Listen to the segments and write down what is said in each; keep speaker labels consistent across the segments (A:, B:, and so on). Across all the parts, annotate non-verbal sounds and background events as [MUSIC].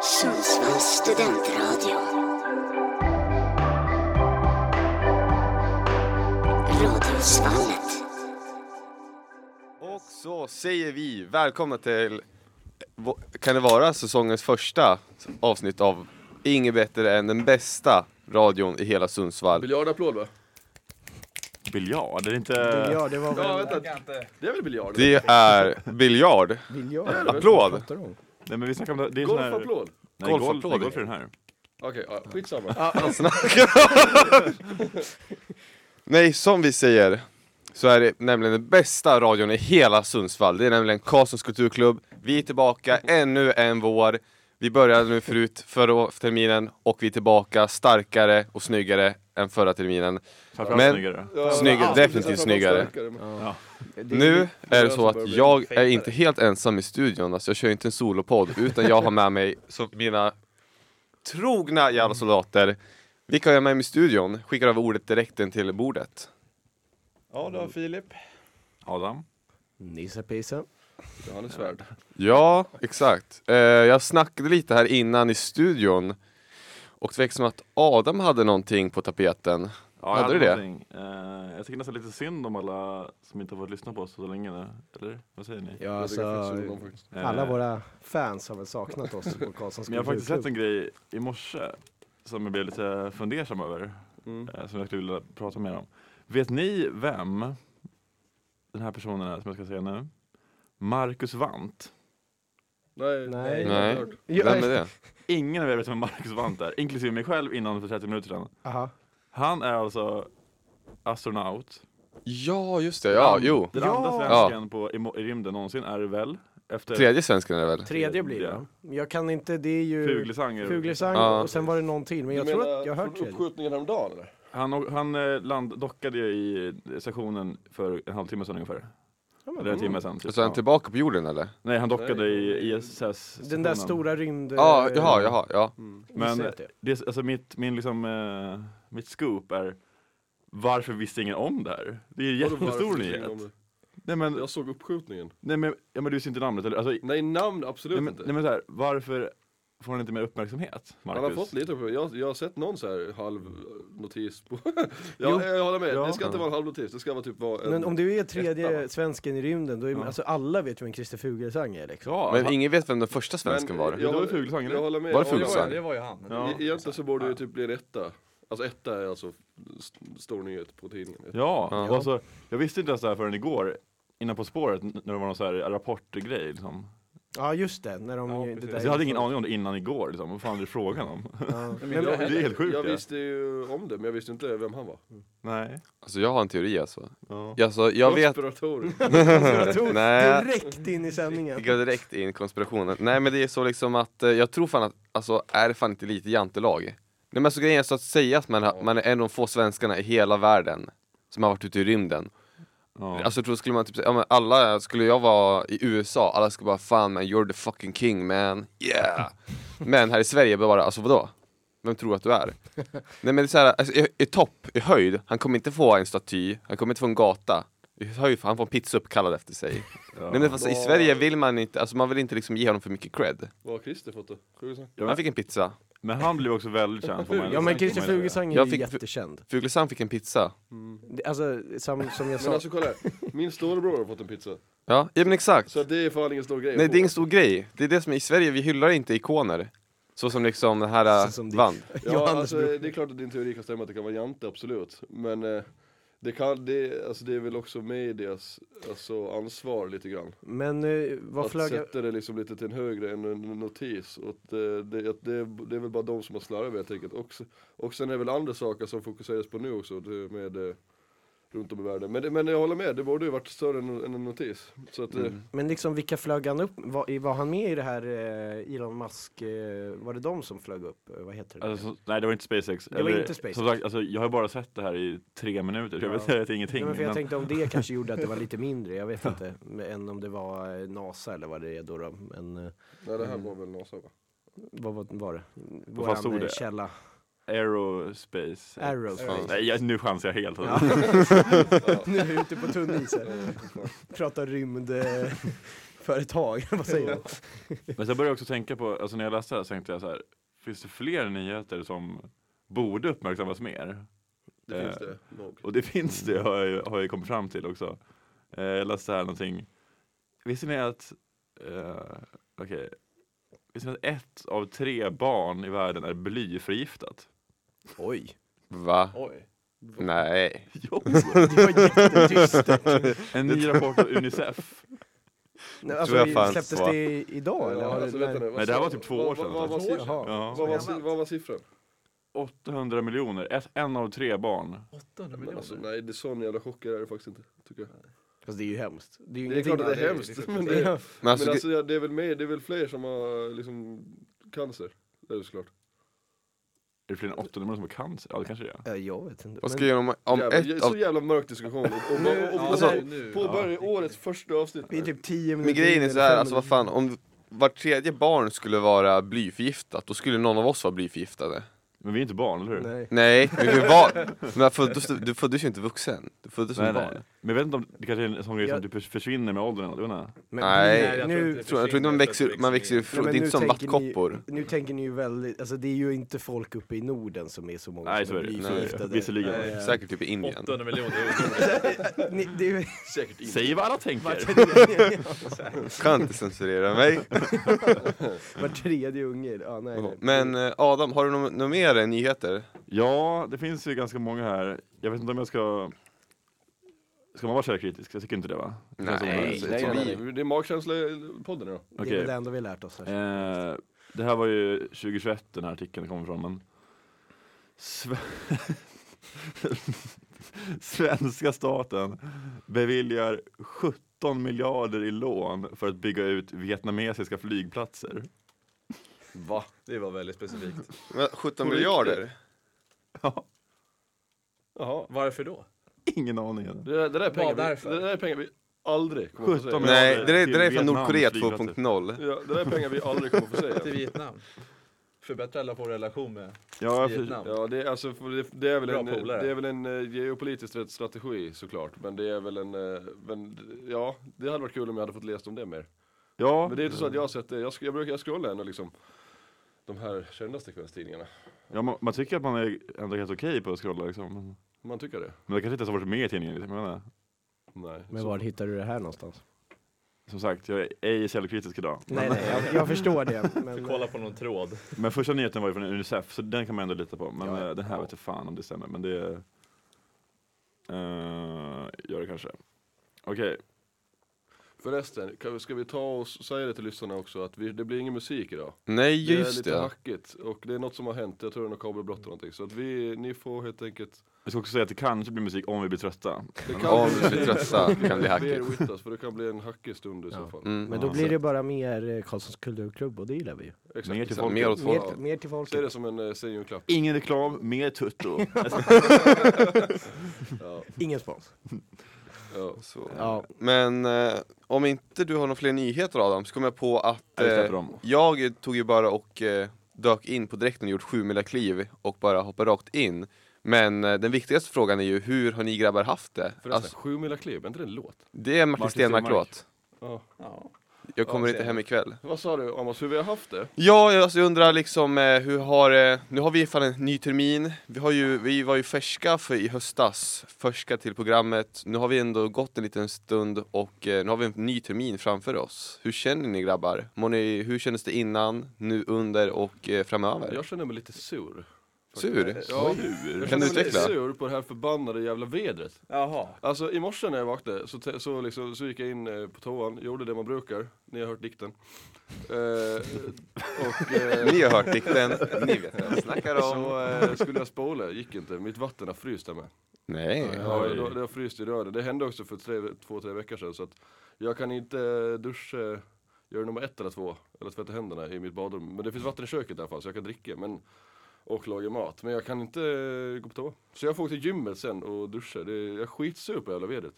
A: Sundsvalls studentradio. Radiosvallet.
B: Och så säger vi välkomna till, vå- kan det vara säsongens första avsnitt av Inget bättre än den bästa radion i hela Sundsvall.
C: Biljardapplåd va?
D: Biljard, är det inte...
E: Ja, det var
C: Ja,
E: väl...
C: vänta. Det är väl biljard?
B: Det är biljard.
E: Vill jag?
B: Applåd!
E: Pratar om.
D: Nej men vi snackar om det, det är en sån här...
C: Golfapplåd?
D: Nej, golf,
B: Golfapplåd.
D: nej, golf är den här.
C: Okej, ja, skitsamma.
D: alltså,
B: Nej, som vi säger så är det nämligen den bästa radion i hela Sundsvall. Det är nämligen Karlssons kulturklubb. Vi är tillbaka ännu en vår. Vi började nu förut förra terminen och vi är tillbaka starkare och snyggare än förra terminen.
D: Framförallt
B: Men-
D: snyggare.
B: Snyggare, definitivt snyggare. Nu är det så att jag är inte helt ensam i studion, alltså jag kör ju inte en solopodd utan jag har med mig så mina trogna jävla soldater. Vilka har jag med mig i studion? Skickar över ordet direkt in till bordet.
C: Ja, det var Filip.
D: Adam.
E: Nisse Pisse.
C: Johannes Svärd.
B: Ja, exakt. Eh, jag snackade lite här innan i studion och det verkar som att Adam hade någonting på tapeten.
D: Ja,
B: Hade du det?
D: Uh, jag tycker nästan lite synd om alla som inte har fått lyssna på oss så länge nu. Eller vad säger ni?
E: Ja, alltså,
D: Eh,
E: alla våra fans har väl saknat oss på Karlssons
D: Men jag har faktiskt sett en
E: kulturklubb.
D: grej i morse som jag blev lite fundersam över.
C: Mm.
D: eh, Som jag skulle vilja prata mer om. Vet ni vem den här personen är som jag ska säga nu? Marcus Wandt.
C: Nej.
E: Nej.
B: Nej,
C: jag har hört.
B: vem är det?
D: Ingen av er vet vem Marcus Wandt är, inklusive mig själv innan för 30 minuter sedan.
E: eh, Aha.
D: Han är alltså astronaut.
B: Ja, just det. Ja, jo.
D: Den
E: Ja.
D: andra svensken på, i, mo- i rymden någonsin är det väl? Efter
B: Tredje svensken är det väl?
E: Tredje blir det. Jag kan inte, det är ju...
D: Fuglesang. är det.
E: Fuglesang
B: Ja.
E: och sen var det någon till, men jag
C: Du
E: tror
C: menar
E: att jag har hört
C: från
E: tredje.
C: uppskjutningen häromdagen eller?
D: Han, o- han eh, land, dockade ju i stationen för en halvtimme sedan ungefär.
E: Ja, men,
D: Eller en timme sedan. typ.
B: Och så är han
D: Ja.
B: tillbaka på jorden eller?
D: Nej, han dockade i ISS.
E: Den där stora rymd...
B: Ja,
E: eh,
B: jaha, jaha, ja.
D: Men
E: Säg det.
D: det, är- alltså mitt, min liksom, eh, mitt scoop är varför visste ingen om det här? Det är ju
C: Vadå, varför
D: jättestor
C: tycker ni om
D: nyhet.
C: det?
D: Nej men,
C: Jag såg uppskjutningen.
D: nej men, ja, men du ser inte namnet eller? Alltså,
C: Nej, namn absolut
D: nej, men,
C: inte.
D: nej, men så här, varför får han inte mer uppmärksamhet? Marcus?
C: han har fått lite uppmärksamhet. Jag, jag har sett någon så här halv eh, notis på... [LAUGHS] ja, jag håller med,
D: Ja.
C: det ska inte vara en halv notis, det ska vara typ vara en...
E: Men om du är
C: Etta,
E: tredje
C: va?
E: svensken i rymden, då är
D: Ja.
E: alltså alla vet ju vem Christer Fuglesang är liksom.
D: Ja,
B: Men
D: han-
B: ingen vet vem den första svensken var.
D: Det
C: Jag,
D: var ju
C: håller-
D: Fuglesang, eller?
C: jag håller med.
B: Var det
C: Ja,
B: Fuglesang?
F: var ju han.
D: Ja.
C: E- Egentligen så borde det typ bli en etta. Alltså etta är alltså st- stor nyhet på tidningen.
D: Ja,
B: Ja.
D: och Alltså, jag visste inte ens det här förrän igår, innan På spåret, n- när det var någon så här rapportgrej. Liksom.
E: Ja, just det, när de...
D: Ja,
E: det där
D: alltså, jag hade ingen aning om det innan igår, liksom. vad fan är det frågan om? [LAUGHS]
E: Ja.
D: det är helt sjukt.
C: Jag
D: ja.
C: visste ju om det, men jag visste inte vem han var.
D: Nej.
B: Alltså jag har en teori alltså.
D: Ja.
B: Alltså jag vet...
C: Konspiratorer.
E: Jag tror
B: Nej.
E: direkt in i sändningen.
B: Jag går direkt in i konspirationen. Nej men det är så liksom att, eh, jag tror fan att, alltså är det fan inte lite jantelag? Nej men alltså grejen är så att säga att man, har- man är en av de få svenskarna i hela världen som har varit ute i rymden.
D: Ja.
B: Alltså jag tror skulle man typ säga, ja men alla, skulle jag vara i USA, alla skulle bara fan man you're the fucking king man, yeah! Men här i Sverige bara, alltså vadå? Vem tror att du är? Nej men det är så här, alltså, i, i topp, i höjd, han kommer inte få en staty, han kommer inte få en gata I höjd, får han får en pizza uppkallad efter sig Nej men fast i Sverige vill man inte, alltså man vill inte liksom ge honom för mycket cred
C: Vad har Christer fått då? Fuglesang?
B: Han fick en pizza,
D: Men han blev också väldigt känd. får man ändå
E: Ja men
D: säga.
E: Christer Fuglesang är
B: Jag
E: ju
B: fick-
E: jättekänd.
B: Fuglesang fick en pizza
E: Det- Alltså, som, som jag
C: Men
E: sa,
C: alltså kolla här, min storebror har fått en pizza.
B: Ja, ja men exakt!
C: Så det är fan ingen stor grej.
B: Nej det är ingen stor grej, det är det som, i Sverige vi hyllar inte ikoner Så som liksom den här,
E: Så som det-
B: vann
C: Ja,
E: Johannes
C: alltså,
E: bror.
C: det är klart att din teori kan stämma att det kan vara Jante, absolut. Men eh, det, kan, det, alltså, det är väl också medias alltså, ansvar lite grann.
E: Men eh, vad
C: Att
E: flög jag...
C: sätta det liksom lite till en högre än en notis. Och att, eh, det, att det, det är väl bara de som har slarvat helt enkelt. Och, se- och sen är det väl andra saker som fokuseras på nu också. Det med, eh, runt om i världen. Men, det- men jag håller med, det borde ju varit större än, än en notis. Så att, eh,
B: Mm.
E: Men liksom vilka flög han upp? Var, i- var han med i det här eh, Elon Musk, eh, var det de som flög upp? Eh, vad heter det?
D: Alltså, så- nej det var inte SpaceX.
E: Det var inte SpaceX.
D: Som sagt, alltså, jag har bara sett det här i tre minuter, så jag
E: Ja.
D: vet att det är ingenting.
E: Nej, men för jag
D: men-
E: tänkte om det kanske gjorde att det var lite mindre, jag vet inte. Än om det var eh, NASA eller vad det är då. då. Men eh,
C: nej, det här var väl NASA va?
E: vad var, var det?
D: fan stod
E: Våran eh,
D: det? Typ.
E: källa.
D: Aerospace.
E: Aerospace.
D: Nej, jag, nu chansar jag helt. [LAUGHS]
E: nu är vi ute på tunn is här. Pratar rymd. Eh, företag, [LAUGHS] vad säger man?
D: Men sen började jag också tänka på, alltså när jag läste det här så tänkte jag så här, finns det fler nyheter som borde uppmärksammas mer?
C: Det
D: Eh,
C: finns det nog.
D: Och det [LAUGHS] finns det, har jag, ju- har jag ju kommit fram till också. Eh, jag läste här någonting. Visste ni att, eh, okej, visste ni att ett av tre barn i världen är blyförgiftat? [LAUGHS]
E: Oj,
B: Va?
C: Oj.
B: Nej.
D: Jo!
E: det var jättetystert.
D: En ny rapport av Unicef.
E: Nej, alltså,
B: Tror jag
E: vi-
B: fan
E: släpptes
B: var.
E: det i- idag eller?
C: Ja,
E: Har
C: alltså,
E: det,
C: vänta nu, vad
D: Nej, det här
C: sa-
D: var typ två
C: vad-
D: år sedan,
C: Vad, vad,
E: alltså.
C: var siffran?
E: Jaha.
D: Ja.
C: vad, var, si- vad var siffran?
D: 800 miljoner, ett, en av tre barn.
C: Men alltså, nej, det är sån jävla chocker är det faktiskt inte, tycker jag.
E: Fast det är ju hemskt. Det är ju
C: Det är
E: ingenting-
C: klart att det är
E: [LAUGHS]
C: hemskt, men det,
E: Ja.
B: Men alltså,
C: men alltså, ja, det, är väl mer, det är väl fler som har liksom cancer? Det är det såklart.
D: Är det fler än 800 som har cancer? Ja det kanske det är.
E: Ja, jag vet inte.
B: vad ska
E: Men-
B: jag göra om, om
C: jävla,
B: ett
C: Så
B: av...
C: jävla mörk diskussion. Och, och, och, och, och,
B: alltså-
C: och påbörja årets första avsnitt.
E: Vi är typ 10 minuter
B: Men grejen är
E: in,
B: så här,
E: fem
B: alltså vad
E: minuter.
B: fan, om vart tredje barn skulle vara blyförgiftat, då skulle någon av oss vara blyförgiftade.
D: Men vi är inte barn, eller hur?
E: Nej.
B: Nej, men vi var... Men jag föddes, du föddes ju inte vuxen, du föddes som
D: Nej,
B: barn.
D: nej. Men jag vet inte om det kanske är en sån grej
E: Jag-
D: som typ försvinner med åldern, eller vad det är.
E: Men
B: Nej.
E: vi-
B: Nej,
E: nu,
B: Jag tror, jag tror inte man växer, man växer ifrån,
E: Nej,
B: det
E: men
B: är inte
E: nu
B: som
E: tänker
B: vattkoppor.
E: nu tänker ni ju väldigt, alltså det är ju inte folk uppe i Norden som är så många
D: Nej så
E: som
D: är det så är det.
E: blyförgiftade.
D: Visserligen.
F: Nej.
B: Säkert typ i Indien.
F: 800 miljoner
E: Ni, det
C: [LAUGHS]
E: är [LAUGHS] ju,
F: säkert inte.
D: Säg vad alla tänker!
B: Kan inte censurera mig.
E: var tredje unge, ja nej. nej.
B: Men eh, Adam, har du nå- något mer än nyheter?
D: Ja, det finns ju ganska många här. Jag vet inte om jag ska... Ska man vara källkritisk? Jag tycker inte det va? Det känns som-
B: Nej,
D: som-
C: Nej,
B: Så
C: nej,
B: vi-
C: nej, det är magkänsla-podden idag.
E: Det är
D: Okej.
E: väl det enda vi har lärt oss. Här.
D: Eh, det här var ju 2021 den här artikeln kommer från, men... Sve... [LAUGHS] Svenska staten beviljar 17 miljarder i lån för att bygga ut vietnamesiska flygplatser.
F: Va? Det var väldigt specifikt.
B: Men 17
C: På
B: miljarder?
D: Ja,
C: Jaha.
F: Varför då?
D: ingen aning. än.
C: Det där, det där är
F: Vad
C: pengar, vi,
F: därför?
C: det där är pengar vi aldrig kommer att få
D: 17
C: säga.
B: Nej, det där, det
D: till
B: där är från
D: Vietnam,
B: Nordkorea
D: flygplatser.
B: 2.0.
C: Ja, det där är pengar vi aldrig kommer att få säga.
F: Till Vietnam. Förbättra alla vår relation med
D: Ja, jag för...
F: Vietnam.
C: Ja, det är, alltså, för det, det, är väl
F: Bra
C: en,
F: polare.
C: det är väl en eh, geopolitisk rätt strategi såklart, men det är väl en, eh, men, ja, det hade varit kul om jag hade fått läst om det mer.
D: ja,
C: Men det är inte så att jag har sett det, jag, sk- jag brukar jag scrollar ändå liksom de här kändaste kvällstidningarna.
D: Ja, man, man tycker att man är ändå helt okej på att scrolla liksom. Men,
C: Man tycker det?
D: men det kanske inte ens har varit med i tidningen. Liksom. Jag menar,
C: Nej.
E: Men
C: Så-
E: var hittar du det här någonstans?
D: som sagt, jag är ej källkritisk idag.
E: Nej nej, jag, jag förstår det.
F: Vi
E: Men,
F: kollar på någon tråd.
D: Men första nyheten var ju från Unicef, så den kan man ändå lita på. Men
E: Ja, ja.
D: eh, den här vet jag fan om det stämmer, men det... eh, gör det kanske. Okej,
C: Förresten, kan, vi- ska vi ta och säga det till lyssnarna också att vi, det blir ingen musik idag.
B: Nej,
C: det är
B: just
C: lite
B: det.
C: hackigt och det är något som har hänt, jag tror det är något kabelbrott eller någonting. Så att vi, ni får helt enkelt
D: jag ska också säga att det kanske blir musik om vi blir trötta.
C: Det kan
B: Om du blir trötta kan det bli
C: Bear
B: hackigt.
C: with us, för det kan bli en hackig stund i så
E: Ja.
C: fall.
B: Mm.
E: men då blir det bara mer eh, Karlssons kulturklubb och det gillar vi ju.
C: Exakt.
D: Mer till
B: Så,
D: folk.
B: mer åt
E: Mer,
B: folk.
E: mer till
C: Säg det
E: folket.
C: som en eh, säg en klapp.
D: Ingen reklam, mer tutto.
C: Ja,
E: Ingen spons.
C: ja.
B: Så.
E: Ja.
B: Men eh, om inte du har några fler nyheter Adam, så kom jag på att
D: Ja, vi släpper
B: eh,
D: dem.
B: jag tog ju bara och eh, dök in på direkten och gjort sju mila kliv och bara hoppade rakt in. Men eh, den viktigaste frågan är ju, hur har ni grabbar haft det? Alltså,
C: Förresten, sju mila kliv, är inte det en låt?
B: det är Martin
D: Martin
B: Stenmarck-låt.
C: Ja.
F: Ja.
B: Jag kommer
F: Ja,
B: inte
F: ser
B: hem ikväll.
C: Vad sa du Amos, hur vi har haft det?
B: Ja, jag alltså jag undrar liksom eh, hur har eh, Nu har vi i alla fall en ny termin. Vi, har ju, vi var ju färska för i höstas, färska till programmet. Nu har vi ändå gått en liten stund och eh, nu har vi en ny termin framför oss. Hur känner ni grabbar? Mår ni, hur kändes det innan, nu, under och eh, framöver?
C: Jag känner mig lite sur.
B: Sur?
C: Ja,
D: Ur.
C: jag
B: Kan du
C: känner mig lite
B: utveckla?
C: sur på det här förbannade jävla vedret.
F: Jaha.
C: Alltså i morse när jag vaknade så, te- så, liksom, så gick jag in eh, på toan, gjorde det man brukar, ni har hört dikten. Eh, och, eh,
B: Ni har hört dikten, ni vet vad jag [LAUGHS] snackar om.
C: så eh, skulle jag spola, gick inte, mitt vatten har fryst där med.
B: Nej.
C: Ja, det, det har fryst i rören. Det hände också för tre, två, tre veckor sedan. Så att jag kan inte eh, duscha, göra nummer ett eller två, eller tvätta händerna i mitt badrum. Men det finns vatten i köket i alla fall så jag kan dricka men, och laga mat. Men jag kan inte eh, gå på toa. Så jag får åka till gymmet sen och duscha. Det, jag är skitsur på jävla vedet.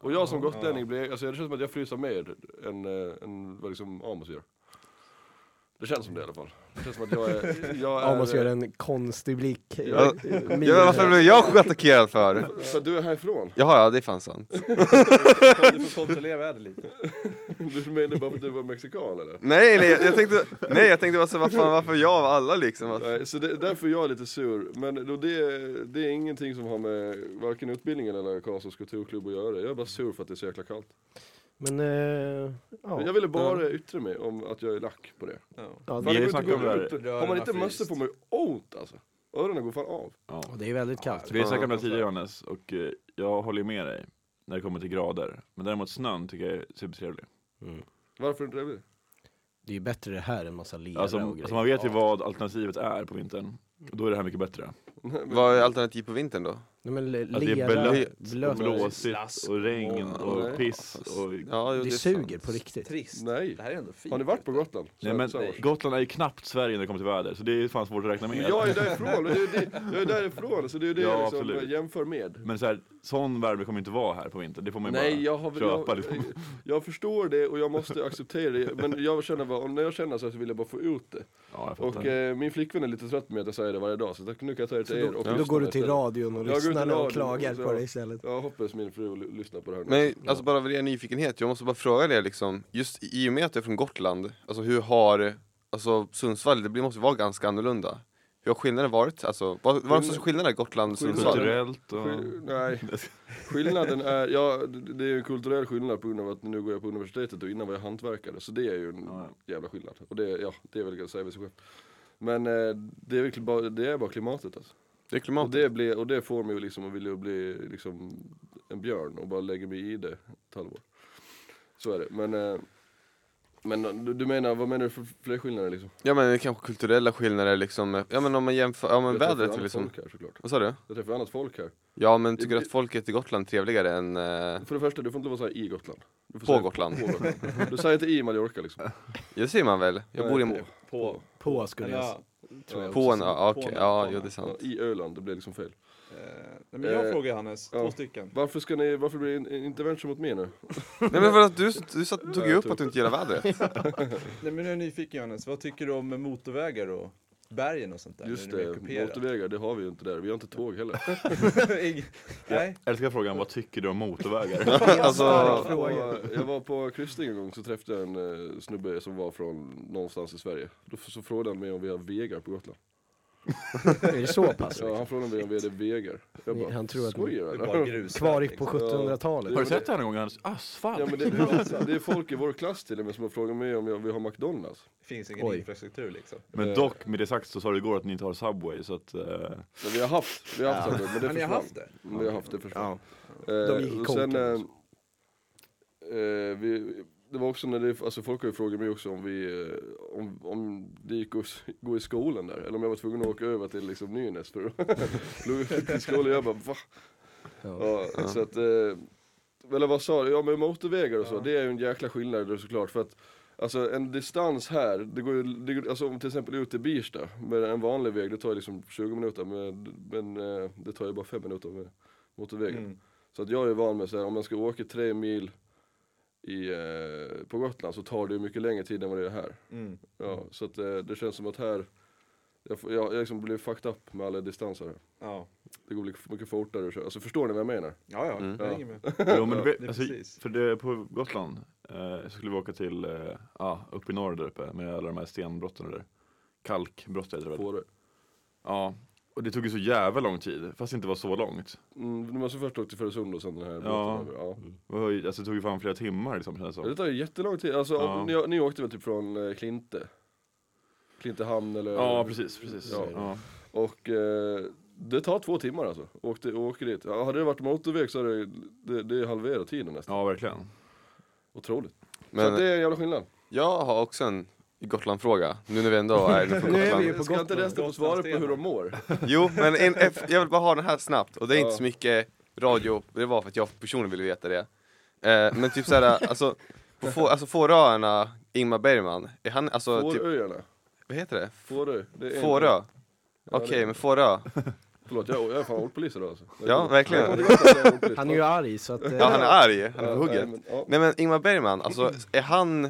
C: Och jag som gotlänning blir, alltså det känns som att jag fryser mer än, eh, än vad liksom Amos gör. Det känns som det i alla fall. Det känns som att jag är...
B: [LAUGHS]
C: Jag är
E: Amos gör en konstig blick.
B: Ja, Ja, men varför blev jag attackerad för?
C: För att du är härifrån.
B: Jaha, ja det är fan sant.
F: Du får kontrollera vädret lite.
C: Du menar bara för att du var mexikan eller?
B: Nej, nej jag tänkte, nej jag tänkte bara så, vad fan, varför jag av alla liksom? Att,
C: Nej, så det, därför jag är lite sur. Men då det, det är ingenting som har med varken utbildningen eller Karlstads kulturklubb att göra. Jag är bara sur för att det är så jäkla kallt.
E: Men, eh, ja.
C: Jag ville bara yttra mig om att jag är lack på det.
F: Ja.
E: Ja,
D: Vi har
E: det,
D: ju
C: Fan,
D: snackat om det
C: går
D: här.
C: inte- Har man inte mössa på mig, ont alltså. Öronen går fan av.
D: Ja.
E: ja, det är väldigt kallt.
D: Vi har snackat om det här tidigare Johannes, och eh, jag håller ju med dig när det kommer till grader. Men däremot snön tycker jag är supertrevlig.
C: Varför inte det?
E: Det är ju bättre det här än massa lera
D: Alltså,
E: och
D: alltså
E: grejer.
D: man vet ju vad alternativet är på vintern. Och Då är det här mycket bättre.
B: vad är alternativ på vintern då?
E: Nej, men le-
D: Alltså, det
E: lera,
D: är
E: blöt.
D: blött,
E: blöt.
D: blåsigt
F: Slask.
D: och regn
C: Nej.
D: och piss. Och...
B: Ja, jo,
E: Det
B: är
E: suger
B: sant.
E: på riktigt.
F: Trist.
C: Nej.
F: Det här är ändå fint.
C: Har ni varit på Gotland?
D: Nej, men
C: Så- så-
D: Gotland är ju knappt Sverige när det kommer till väder, så det är fan svårt att räkna med.
C: Jag är därifrån, det är ju det, jag är därifrån så det är ju det
D: Ja,
C: jag liksom
D: absolut.
C: jämför med.
D: Men så här, sån värme kommer inte vara här på vintern, det får man ju bara
C: Nej, jag, har,
D: köpa.
C: jag,
D: liksom.
C: jag förstår det och jag måste acceptera det, men jag känner bara, när jag känner så här så vill jag bara få ut det.
D: [LAUGHS] Ja, jag
C: Och
D: fattar.
C: eh, min flickvän är lite trött med att jag säger det varje dag, så tack, nu kan jag säga det till er och
E: Då går du till
C: rad.
E: radion och
C: Jag går till
E: lyssnar
C: radion
E: och klagar
C: och så-
E: på det istället.
C: Jag hoppas min fru l- lyssnar på det här nu.
B: Men alltså bara av ren nyfikenhet, jag måste bara fråga dig liksom, just i och med att du är från Gotland, alltså hur har, alltså Sundsvall, det blir- måste ju vara ganska annorlunda. Hur har skillnaden varit? Alltså, vad vad är de största skillnaderna Gotland och
C: Skillnaden-
B: Sundsvall?
D: Kulturellt och...
C: Skill-
E: [LAUGHS]
C: Nej, skillnaden är, ja det det är ju en kulturell skillnad på grund av att nu går jag på universitetet och innan var jag hantverkare, så det är ju en
D: Ja,
C: jävla skillnad. Och det, ja, det är väl ganska säga sig själv. Men eh, det är verkligen bara, det är bara klimatet alltså.
B: Det är
C: Och
B: klimatet.
C: det, blir, och det får mig att liksom att vilja bli liksom en björn och bara lägga mig i det ett halvår. Så är det. Men, eh, men eh, du- du menar, vad menar du för fler skillnader liksom?
B: Ja men det är kanske kulturella skillnader liksom, ja men om man jämför, ja men
C: Jag träffar ju
B: vädret
C: annat
B: liksom.
C: Folk här, såklart.
B: Vad sa du?
C: Jag träffar ju annat folk här.
B: Ja men tycker du att folket i Gotland är trevligare än eh,
C: För det första, du får inte vara såhär i Gotland. Du
B: på
C: får säga-
B: Gotland?
C: på Gotland. Du säger inte i Mallorca liksom.
B: Det säger man väl? Jag bor i,
F: På.
E: På skulle jag säga.
F: Ja.
B: på en,
F: På
B: ja okej,
F: en-
B: ja
F: på
B: jo
F: en-
B: det är [LAUGHS] sant.
C: I Öland, det blir liksom fel.
F: Eh, nej, men jag
C: Eh,
F: frågar Hannes,
C: ja.
F: två stycken.
C: Varför ska ni, varför blir det en en intervention mot mig nu?
B: Nej men för att du, du satt, tog ju upp att du inte gillar
C: [LAUGHS]
B: vädret.
F: Nej, men jag är nyfiken Johannes, vad tycker du om motorvägar och bergen och sånt där?
C: Just
F: Är mer
C: det,
F: kuperat?
C: motorvägar, det har vi ju inte där. Vi har inte tåg heller.
F: [LAUGHS] Ing- Nej,
D: Jag älskar frågan, vad tycker du
C: [LAUGHS]
D: om motorvägar?
B: alltså,
C: Jag var- Jag var på kryssning en gång så träffade jag en eh, snubbe som var från någonstans i Sverige. Då f- så frågade han mig om vi har vegar på Gotland.
E: Är det så pass?
F: Alltså,
C: Ja, han frågade mig om vi hade vegar. Jag bara,
E: Han tror att det
C: skojar
F: det är
C: eller? [LAUGHS]
F: bara grus.
E: Kvar i- på
C: Ja.
E: 1700-talet.
D: Har du sett det här någon gång Johannes?
C: Ja, men
D: Asfalt!
C: det, det, det är folk i vår klass till och med som har frågat mig om jag vill ha McDonalds.
F: Det finns ingen
E: Oj.
F: infrastruktur liksom.
D: Men dock, med det sagt så sa du igår att ni inte har Subway, så att... eh,
C: Men vi har haft, vi har haft det, men det
F: Har ni
C: försvann.
F: haft det?
C: Men Vi har haft det försvann.
E: De gick i alltså.
C: Eh, och sen,
E: konken
C: eh,
E: också.
C: eh, vi, det var också när det, alltså folk har ju frågat mig också om vi, eh, om, om det gick att s- gå i skolan där, eller om jag var tvungen att åka över till liksom Nynäs för att [LAUGHS] till skolan, jag bara va? Ja, så att, eh, eller vad sa du, ja men motorvägar och så, det är ju en jäkla skillnad då såklart för att Alltså en distans här, det går ju, det går, alltså om till exempel ut till Birsta med en vanlig väg, det tar ju liksom 20 minuter men, men eh, det tar ju bara 5 minuter med motorvägen.
F: Mm.
C: Så att jag är van med så här, om man ska åka tre mil i, eh, på Gotland så tar det ju mycket längre tid än vad det är här.
F: Mm.
C: Ja, så att eh, det känns som att här, jag, får- jag, jag liksom blir fucked up med alla distanser. här.
F: Ja,
C: Det går mycket, mycket fortare att köra, alltså förstår ni vad jag menar?
F: ja, ja
B: Mm.
F: jag hänger med.
D: Jo, men det,
F: det är
D: alltså,
F: precis.
D: för det, på Gotland eh, så skulle vi åka till, eh, ja, upp i norr där uppe med alla de här stenbrotten och det där. Kalkbrott heter det väl?
C: På det.
D: Ja. Och det tog ju så jävla lång tid, fast det inte var så långt.
C: Mm, men måste först åka till Färösund och sen den här båten
D: Ja.
C: över. Ja.
D: Det var ju- Alltså, det tog ju fan flera timmar liksom kändes det
C: Det
D: som.
C: tar ju jättelång tid, alltså
D: Ja.
C: om- ni, ni åkte väl typ från eh, Klinte? Klintehamn eller?
D: Ja, precis, precis.
C: Ja.
D: Ja.
C: Och eh, det tar två timmar alltså, åkte, åker dit. Ja, hade det varit motorväg så hade det, det, det är halvera tiden nästan.
D: Ja, verkligen.
C: Otroligt. så att det
B: men
C: är en jävla skillnad.
B: jag har också en Gotland-fråga, nu när vi ändå
C: [LAUGHS]
B: är inne på
E: Nu är vi
B: Gotland.
E: ju på
C: Ska inte
E: Gotland.
C: resten få svara på hur de mår?
B: Jo, men en, en, jag vill bara ha den här snabbt och det är
C: Ja.
B: inte så mycket radio, det var för att jag personligen ville veta det. Eh, men typ
C: [LAUGHS]
B: såhär, alltså, på få, alltså Fåröarna, Ingmar Bergman, är han alltså, typ,
C: Fåröarna?
B: vad heter det?
C: Fårö? det är en-
B: Fårö?
C: Ja, det
B: Okej,
C: är-
B: men Fårö,
C: Förlåt, jag, jag är fan ordpolis idag alltså.
B: ja verkligen.
E: Han är ju arg så att... eh,
B: Ja han är arg, han är på hugget.
C: Ja,
B: Nej men Ingmar Bergman, alltså är han,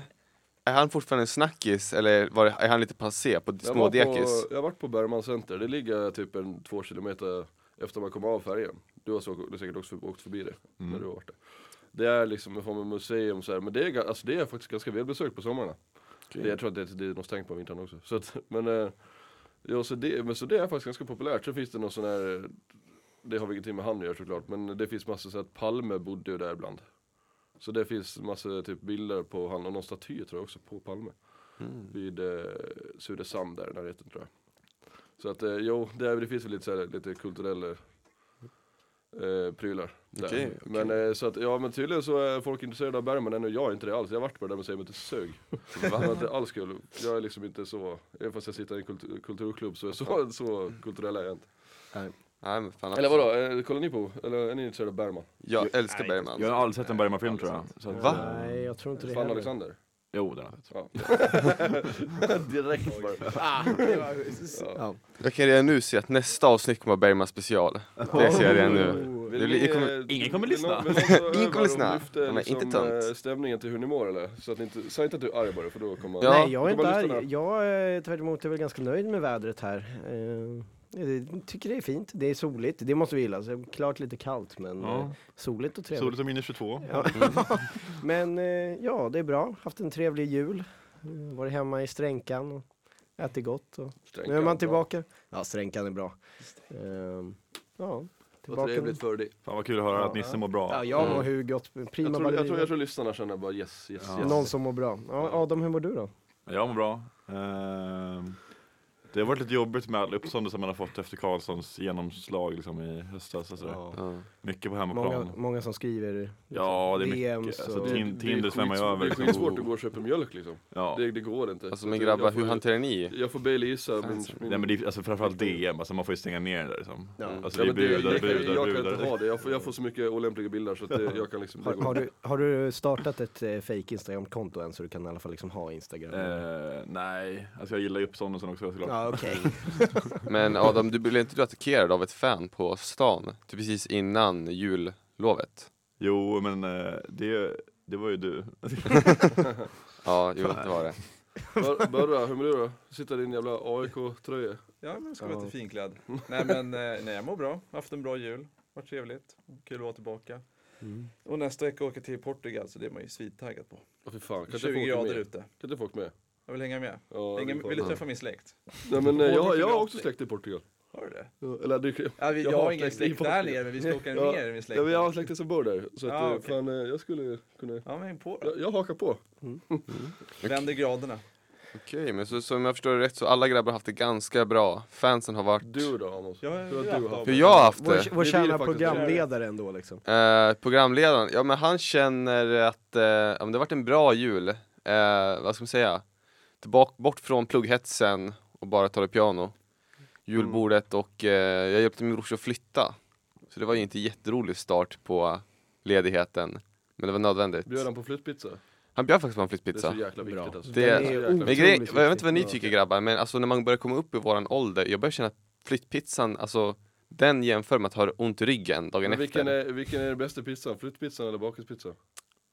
B: är han fortfarande en snackis eller var, det- är han lite passé på
C: Jag var, på,
B: smådekis?
C: jag har varit på Bergman Center, det ligger typ en två kilometer efter man kommer av färjan. Du har, så, du har säkert också åkt förbi det, när du har varit där. Det är liksom en form av museum så här, men det är, ga- alltså, det är faktiskt ganska välbesökt på sommarna. Det, jag tror att det, det är något stängt på vintern också. Så att, men, eh, ja, så det, men så det är faktiskt ganska populärt. Sen finns det någon sån här, eh, det har vi ingenting med han att göra såklart, men det finns massor så att Palme bodde ju där ibland. Så det finns massor typ bilder på han och någon staty tror jag också på Palme
B: Mm.
C: vid eh, Sudesand där i närheten tror jag. Så att eh, jo, det, är, det finns väl lite, så här, lite kulturella eh, prylar. Där.
B: Okej, okej.
C: Men eh, så att, ja men tydligen så är folk intresserade av Bergman ännu, jag är inte det alls. Jag har varit på det där museet och sög. [LAUGHS] Det var inte alls kul. Jag är liksom inte så, även fast jag sitter i en kultur, kulturklubb så är så, så kulturell är jag inte.
B: Nej, men fan,
C: Eller vadå, eh, kollar ni på, eller är ni intresserade av Bergman?
B: Jag älskar Bergman.
D: Jag har aldrig sett en Bergman-film tror jag. Så att, eh,
B: Va?
E: eh, Nej, jag tror inte det
C: Fan
E: heller.
C: Alexander?
D: Jo, den har jag sett.
C: Ja. Direkt bara.
B: Jag kan redan nu se att nästa avsnitt kommer vara Bergman special. Det ser jag redan nu.
C: Vill
B: Det blir-
C: ni,
B: det kommer-
C: eh,
D: Ingen kommer
C: vill
D: lyssna.
C: någon- vill någon ta över
B: kommer
C: och
B: lyssna.
C: lyfta,
B: Ja, men
C: liksom,
B: inte tönt.
C: eh, Stämningen till hur ni mår eller? Så att ni inte, säg inte att du är arg bara för då kommer
B: Ja.
E: Nej, jag är
C: då
E: inte
C: kommer lyssnarna-
E: arg. Jag är tvärt emot är väl ganska nöjd med vädret här. Eh, Jag tycker det är fint. Det är soligt. Det måste vi gilla. Så klart lite kallt, men
D: Ja.
E: eh, soligt och trevligt.
D: Soligt och minus 22.
E: Ja. [LAUGHS] men eh, ja, det är bra. Haft en trevlig jul. Eh, Varit hemma i Stränkan och ätit gott. Och...
C: Stränkan,
E: Nu är man
C: ja.
E: tillbaka. Ja, Stränkan är bra. Eh, ja,
C: Vad
E: tillbaka.
C: trevligt för dig.
D: Fan vad kul att höra att Nisse mår bra.
E: Ja, jag mår hur gott. Prima
C: Jag tror, jag, tror,
E: ballerina.
C: jag tror lyssnarna känner bara yes, yes,
D: Ja.
C: yes.
E: Någon som mår bra. Ja, Adam, hur mår du då?
D: Jag mår bra. Ehm, Det har varit lite jobbigt med all uppståndelse man har fått efter Karlssons genomslag liksom, i höstas. Och sådär.
B: Ja.
D: Mycket på hemmaplan.
E: Många, många som skriver.
D: Ja, det är
E: DMs
D: mycket. Alltså,
E: och-
D: Tin-
C: Det är
D: Tinder svämmar ju
C: skitsvårt-
D: över.
C: Det är
D: liksom.
C: skitsvårt att gå och köpa mjölk liksom.
D: Ja.
C: Det, det går inte.
B: Alltså
C: Jag
B: men
C: tror- jag
B: grabbar, hur
C: får-
B: hanterar ni?
C: Jag får bailisa min... min...
D: Nej men det är, alltså framförallt DM, alltså man får ju stänga ner det där liksom.
C: Ja,
D: Alltså vi är
C: men det- jag-
D: brudar,
C: jag,
D: brudar,
C: jag kan inte
D: brudar.
C: ha det, jag får, jag får så mycket olämpliga bilder så att det, jag kan liksom...
E: Har,
C: det går
E: har,
C: inte.
E: du, har du startat ett eh, fake Instagram-konto än så du kan i alla fall liksom ha Instagram?
D: Eh, nej, alltså jag gillar ju uppståndelsen också såklart.
E: Ja, okej.
B: Men Adam, du blev inte du attackerad av ett fan på stan? Typ precis innan jullovet?
D: Jo men eh, det, det var
C: [LAUGHS]
D: ju du.
B: Ja, jo det var det.
C: Bör- Börra, hur mår du då? Sitter i din jävla AIK-tröja?
F: Ja, men ska vara
E: Ja.
F: lite finklädd. Nej, men eh, nej, jag mår bra. Haft en bra jul. Varit trevligt. Kul att vara tillbaka.
E: Mm.
F: Och nästa vecka åker jag till Portugal, så det är man ju svintaggad på.
C: Åh fy fan, kan inte
F: 20
C: folk
F: grader
C: med?
F: ute.
C: Kan inte folk med?
F: Jag vill hänga med.
C: Ja, det är
F: Ingen,
C: fan-
F: vill du träffa min släkt?
C: Nej men eh,
F: Åh,
C: jag,
F: det
C: jag har
F: är
C: också
F: det.
C: släkt i Portugal.
F: Har du det?
C: Eller det,
F: Ja, vi, jag, har ingen släkt
C: i
F: där
C: Portugal.
F: nere, men vi ska åka
C: Ja,
F: ner med
C: Ja, men
F: släkten.
C: jag har släkter som bor där. Så att,
F: Ja,
C: eh,
F: Ah, okej.
C: fan, eh, jag skulle kunna...
F: Ja, men häng på då.
C: Jag, jag hakar på.
F: Vänder graderna.
B: Okej, men så, som jag förstår det rätt så alla grabbar har haft det ganska bra. Fansen har varit...
C: Du då Amos?
F: Ja,
C: Hur har
F: du
C: du
F: haft
B: Hur jag har haft det?
E: Vår, vår
C: Det blir
E: kära
C: det faktiskt.
E: programledare ändå liksom.
B: Eh, programledaren, ja men han känner att eh, ja, men det har varit en bra jul. Eh, vad ska man säga? Tillbaka, bort från plugghetsen och bara ta det piano. Julbordet
C: Mm.
B: och eh, jag hjälpte min brorsa att flytta. Så det var ju inte en jätterolig start på ledigheten. Men det var nödvändigt.
C: Bjöd han på flyttpizza?
B: Han bjöd faktiskt på en
C: Det är så
B: flyttpizza.
C: jäkla viktigt
E: Bra.
C: alltså.
B: Det
E: Den
B: är-
C: så jäkla
E: otroligt
B: Men grejen, jag vet inte
E: viktig.
B: vad ni tycker grabbar, men alltså när man börjar komma upp i våran ålder, jag börjar känna att flyttpizzan, alltså den jämför med att ha ont i ryggen dagen
C: Men vilken
B: efter.
C: är, vilken är den bästa pizzan? Flyttpizzan eller bakelsepizzan?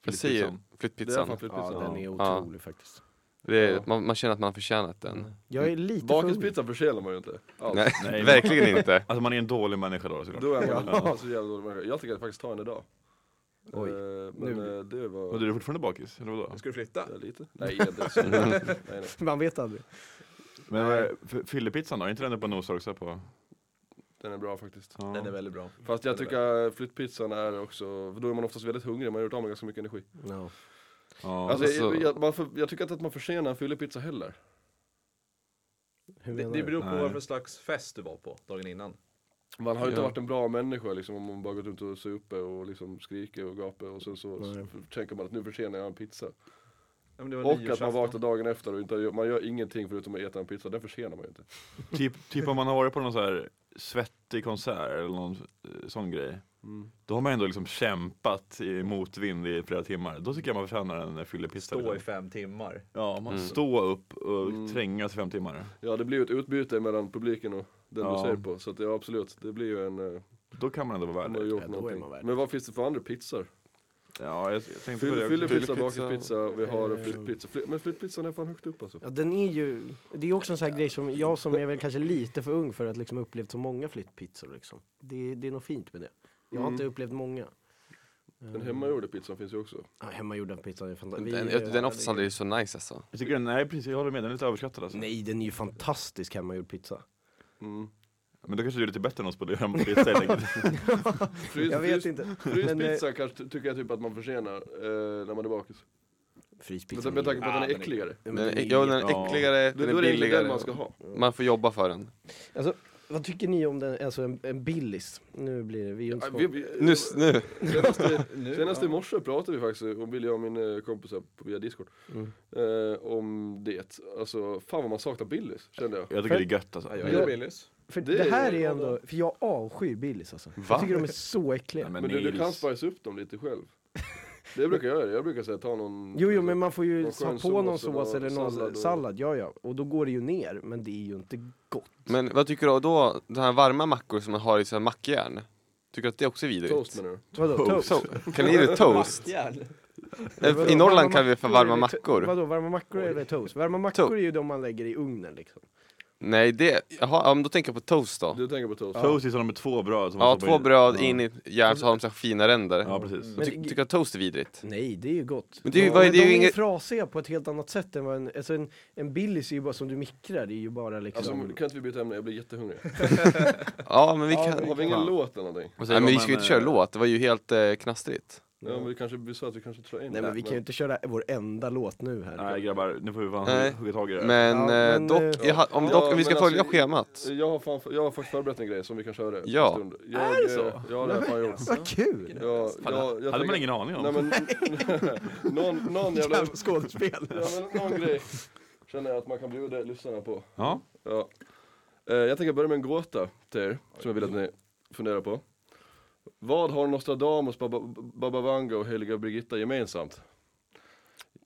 B: Jag säger
D: Flyttpizzan.
C: Det är fan
B: flyttpizzan.
C: flyttpizzan.
E: Ja, den är
B: Ja.
E: otrolig faktiskt.
B: Det är,
C: Ja.
B: man, man känner att man har förtjänat
D: Mm.
B: den.
E: Jag är lite full.
C: Bakelsepizzan förtjänar man ju inte. Alls.
B: Nej,
D: Nej.
B: verkligen
C: [LAUGHS]
B: inte.
D: Alltså man är en dålig människa då såklart.
C: Då är man så jävla dålig människa. Jag tänker att faktiskt ta en idag.
E: Oj.
C: Eh, Men
E: Nu-
C: eh, det var...
D: Och du är fortfarande bakis? Eller vadå?
F: Ska du flytta?
C: Ja, lite. Nej,
E: [LAUGHS]
C: inte så. nej, nej.
E: Man vet aldrig.
D: Men vad är- f- fyllepizzan då, är inte den uppe och nosar också på?
C: Den är bra faktiskt.
D: Ja.
F: Den är väldigt bra.
C: Fast jag tycker flyttpizzan är också, för då är man oftast väldigt hungrig, man har gjort av med ganska mycket energi.
E: Ja.
D: Ja.
C: Alltså,
B: Alltså-
C: jag, jag, man för, jag tycker inte att man försenar en fyllepizza heller.
E: Hur
F: Det,
E: menar
F: det
E: du?
F: beror på
D: Nej.
F: vad för slags fest du var på dagen innan.
C: Man har ju inte
B: Ja.
C: varit en bra människa liksom, om man bara gått ut och super och liksom skriker och gapar och sen så, så
E: Nej.
C: tänker man att nu försenar jag en pizza.
F: Ja, men det var
C: Och att man
F: nyårsafton.
C: vaknar dagen efter och inte, man gör ingenting förutom att äta en pizza, den försenar man ju inte.
D: Typ, typ om man har varit på någon så här svettig konsert eller någon eh, sån grej.
F: Mm.
D: Då har man ändå liksom kämpat i motvind i flera timmar. Då tycker jag man förtjänar en fyllepizza.
F: Stå i
D: Liksom.
F: fem timmar.
D: Ja, man Mm. stå upp och trängas i fem timmar.
C: Ja det blir ju ett utbyte mellan publiken och den
D: Ja.
C: du ser på, så att, ja absolut, det blir ju en, eh,
D: Då kan man ändå vara
C: man
D: värd
C: har
D: det.
C: gjort
E: Ja, då är man
C: någonting.
E: värd
C: Men vad finns det för andra pizzor?
D: Ja, jag, jag tänkte på det.
C: Fyll,
D: också.
C: fyllepizza,
B: Fyllepizza.
C: bakelspizza, vi har en
E: Eh.
C: flyttpizza. Fly, men flyttpizzan är fan högt upp alltså.
E: Ja, den är ju, det är också en sån här grej som jag som är väl kanske lite för ung för att liksom upplevt så många flyttpizzor liksom. Det, det är något fint med det. Jag har
C: Mm.
E: inte upplevt många.
C: Den hemmagjorda pizzan finns ju också.
E: Ja, hemmagjorda pizzan är fantastisk.
B: Den, jag- den är oftast aldrig så nice alltså.
D: Jag tycker den, nej precis, jag håller med, den är lite överskattad alltså.
E: Nej, den är ju fantastisk hemmagjord pizza.
C: Mm.
D: Men då kanske du är lite bättre än oss på att [LAUGHS] göra pizza helt enkelt.
C: Frys,
E: Jag vet
C: frys,
E: inte. eh,
C: Fryspizza kanske ty- tycker jag typ att man försenar eh, när man är bakis.
E: Fryspizza.
C: Med, med tanke på att
F: Ah,
C: den är
F: men det-
C: äckligare.
B: Den är, ja, den är
D: Ja.
B: äckligare,
C: Då,
B: den
C: då
B: är
C: är det egentligen den
B: billigare.
C: man ska ha.
B: Man får jobba för den.
E: Alltså, vad tycker ni om den, alltså en, en billis? Nu blir det, vi är ju inte
C: Ja,
E: sponsrade.
C: Ah, vi, vi,
B: Nu, nu.
C: Senaste,
F: Nu,
C: senast i
F: ja.
C: morse pratade vi faktiskt, om Billy och min eh, kompis här på- via discord,
E: Mm.
C: eh, om det. Alltså fan vad man saknar Billys kände jag.
D: Jag tycker det är gött alltså.
F: Ja, jag
E: Ja.
F: gillar Billys.
E: För det,
C: Det
E: här är
C: är-
E: ändå, för jag avskyr Billys alltså.
B: Va?
E: Jag tycker de är så äckliga.
D: Nej,
C: Men du, du
D: Nils.
C: kan spice upp dem lite själv. Det brukar jag göra, jag brukar säga ta någon eh,
E: Jo, jo, men man får ju
C: Någon
E: ha
C: skön
E: på någon
C: sås eller
E: sås eller någon
C: sallad
E: sallad,
C: och-
E: ja ja. Och då går det ju ner, men det är ju inte gott.
B: Men vad tycker du då, de här varma mackor som man har i så här mackjärn? Tycker du att det också är vidrigt?
C: toast menar du?
E: Vadå, toast?
B: So- Kan ni ge det
C: [LAUGHS]
B: toast?
F: Mackjärn.
B: Eh, I Norrland kan vi få varma mackor.
E: Vadå, varma mackor eller toast? Varma mackor är ju de man lägger i ugnen liksom.
B: Nej det, jaha, ja, men då tänker jag på toast då.
C: Du tänker på toast?
D: Toasties har de med två bröd som
B: Ja,
D: man stoppar
B: två
D: i.
B: bröd
D: Ja.
B: in i järn så har de så här fina ränder.
D: Ja, precis.
E: Men-
B: Ty, tycker du att toast är vidrigt?
E: Nej, det är ju gott.
B: Men det är ju- vad är-
E: men
B: det är
E: de är
B: ju
E: ju
B: inget-
E: frasiga på ett helt annat sätt än vad en, alltså en, en Billys är ju bara som du mikrar, det är ju bara
C: Alltså
E: liksom.
C: kan inte vi byta ämne, jag blir jättehungrig.
B: Ja men vi kan...
C: Har vi ingen låt eller någonting?
D: Vad säger
B: Nej men
D: de
B: vi
D: om
B: ska ju inte
D: en,
B: köra
D: eh,
B: låt, det var ju helt eh, knastrigt.
C: Ja, men vi, kanske, vi sa att vi kanske inte tar in
E: Nej men vi kan ju inte köra vår enda låt nu här.
D: Nej grabbar, nu får vi fan
B: Nej.
D: hugga tag i det här.
B: Men,
E: Ja,
B: eh,
E: men,
B: dock,
E: eh,
B: jag ha- om
C: ja,
B: dock, om vi
C: men
B: ska följa
C: alltså,
B: schemat.
C: Jag har, fan, jag har faktiskt förberett en grej som vi kan köra en
B: Ja.
C: stund. Jag, är det så? Ja det har jag fan gjort.
E: [LAUGHS] Vad kul!
C: Ja, jag, jag, jag
D: hade man
C: tänker-
D: ingen aning om.
C: Nej men, [LAUGHS] någon,
E: [LAUGHS]
C: någon jävla,
E: Jävla skådespel!
C: ja, men någon grej känner jag att man kan bjuda lyssnarna på.
D: Ja,
C: Ja. Eh, jag tänker börja med en gåta till er, som jag vill att ni funderar på. Vad har Nostradamus, Baba, Baba Vanga och Heliga Birgitta gemensamt?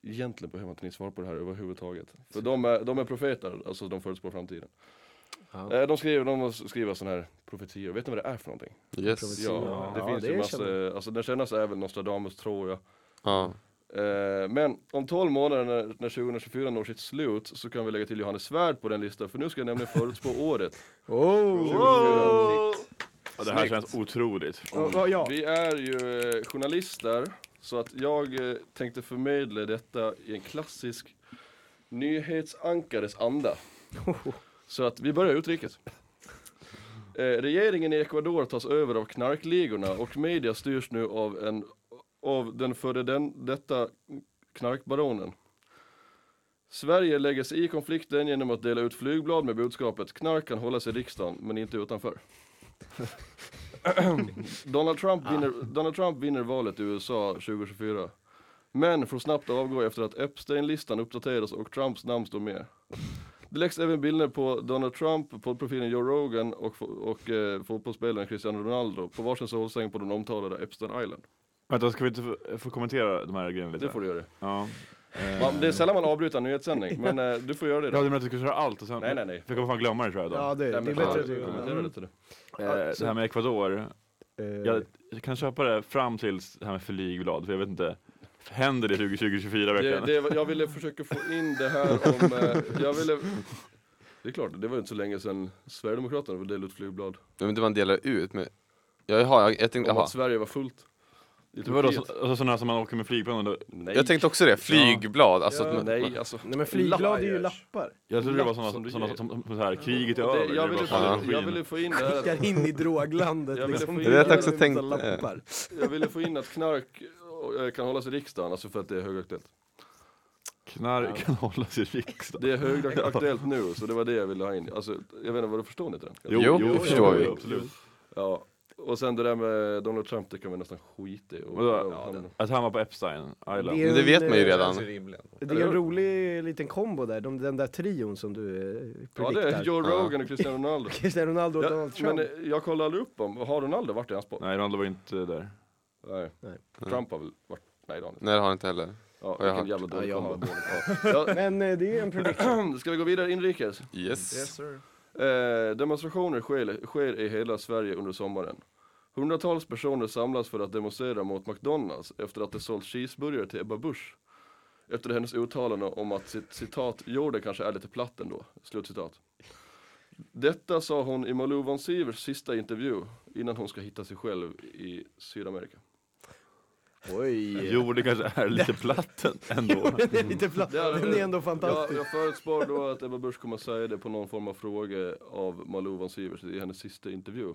C: Egentligen behöver inte ni svara på det här överhuvudtaget. För de är, de är profeter, alltså de förutspår framtiden.
E: Ja.
C: Eh, de skriver, de skriver sådana här profetior, vet ni vad det är för någonting?
B: Yes.
C: Ja,
D: Ja,
C: det finns
E: det
C: ju
E: känner
C: massa, alltså den kändaste är väl Nostradamus tror jag.
B: Ja.
C: Eh, men om 12 månader när, när 2024 når sitt slut så kan vi lägga till Johannes Svärd på den listan för nu ska jag nämligen förutspå [LAUGHS] året.
E: Oh!
D: och det här känns otroligt.
E: Ja, ja, ja.
C: Vi är ju eh, journalister så att jag eh, tänkte förmedla detta i en klassisk nyhetsankares anda. Så att vi börjar utrikes. Eh, regeringen i Ecuador tas över av knarkligorna och media styrs nu av, en, av den före den, detta knarkbaronen. Sverige lägger sig i konflikten genom att dela ut flygblad med budskapet knark kan hålla sig i riksdagen men inte utanför. Donald Trump,
E: Ah.
C: vinner, Donald Trump vinner valet i USA 2024. Men får snabbt avgå efter att Epstein-listan uppdateras och Trumps namn står med. Det läggs även bilder på Donald Trump, poddprofilen Joe Rogan och, fo- och eh, fotbollsspelaren Cristiano Ronaldo på varsin solsäng på den omtalade Epstein Island.
D: Vänta, ska vi inte få, få kommentera de här grejerna lite?
C: Det får du göra.
D: Ja. Eh,
C: Man, det är sällan man avbryter en nyhetssändning, men eh, du får göra det.
D: Ja, du
C: Då.
D: menar att vi ska köra allt och sen?
C: Nej, nej, nej.
D: För jag kommer fan glömma det tror jag idag.
E: Ja, det, det är
C: Nej, men
E: bättre
C: fan,
E: att du Mm.
C: kommentera lite du.
D: Eh,
C: alltså-
D: det här med Ecuador,
E: Eh.
D: jag,
C: Eh.
D: jag kan köpa det fram till det här med flygblad, för jag vet inte. Händer det 2024
C: Det,
D: verkligen?
C: det, var- jag ville försöka få in det här om, eh, jag ville, det är klart, det var ju inte så länge sedan Sverigedemokraterna delade ut flygblad.
B: Men det man delar ut med... Ja, jaha, jag, jag tänkte,
C: Om
B: jaha.
C: att Sverige var fullt. I
D: Det var då
C: Turkiet.
D: så, alltså sådana som man åker med flygplan och då,
C: Nej.
B: Jag tänkte också det, flygblad. Alltså, att man-
C: Nej, alltså.
E: Nej men flygblad är ju lappar.
D: Jag trodde det var sådana
C: Lapp som
D: som,
C: du
D: såna,
C: ger.
D: som, som, som så här, kriget är
C: Det,
D: över.
C: jag,
D: det
C: ville
D: var
C: få,
B: fan.
D: bara
C: in-
D: energin.
C: jag ville få in det här,
E: Skickar in i droglandet
C: Jag ville
E: liksom.
C: få in-
B: Det är rätt också eh,
E: Med
B: tänkt,
E: massa lappar.
C: jag ville få in att knark eh, kan hållas i riksdagen, alltså för att det är högaktuellt.
D: Knark kan hållas i riksdagen.
C: Det är högaktuellt nu, så det var det jag ville ha in. Alltså, jag vet inte, vad du förstår ni det?
B: Jo, det förstår vi.
D: Absolut.
C: Ja. Och sen det där med Donald Trump, det kan vi nästan skita i. Och,
D: Vadå?
C: ja, det-
D: Att han var på Epstein Island.
E: Det är
B: Men det vet man ju
E: en, eh,
B: redan.
F: Det är rimligen.
E: Det är en rolig liten kombo där, de, den där trion som du eh,
C: ja, det är
E: prediktar.
C: Joe Rogan och Cristiano Ronaldo.
E: [LAUGHS] Cristiano Ronaldo och
C: Ja,
E: Donald Trump.
C: men eh, jag kollade aldrig upp om, har Ronaldo varit i hans podd?
D: Nej, Ronaldo var inte där.
C: Nej.
E: Nej.
C: Trump har väl varit, nej det har han inte.
B: Mm. Nej det har han inte heller.
C: Ja,
B: jag har-
C: vilken jävla dålig
E: ja, jag har.
C: kombo. [CLEARS THROAT] Ja.
E: Men eh, det är en
C: [LAUGHS]
E: predikt.
C: Ja, Ska vi gå vidare inrikes?
B: Yes.
F: Yes sir.
C: Eh, demonstrationer sker, sker i hela Sverige under sommaren. Hundratals personer samlas för att demonstrera mot McDonalds efter att de sålt cheeseburgare till Ebba Busch. Efter hennes uttalande om att sitt citat, jorden kanske är lite platt ändå, slutcitat. Detta sa hon i Malou von Sivers sista intervju innan hon ska hitta sig själv i Sydamerika.
E: [LAUGHS] Oj.
D: Jo, det kanske är lite platt ändå.
E: det är lite platt.
C: Det är det.
E: Den är ändå
C: Jag,
E: fantastisk.
C: jag förutspår då att Ebba Busch kommer att säga det på någon form av fråga av Malou von Sivers i hennes sista intervju.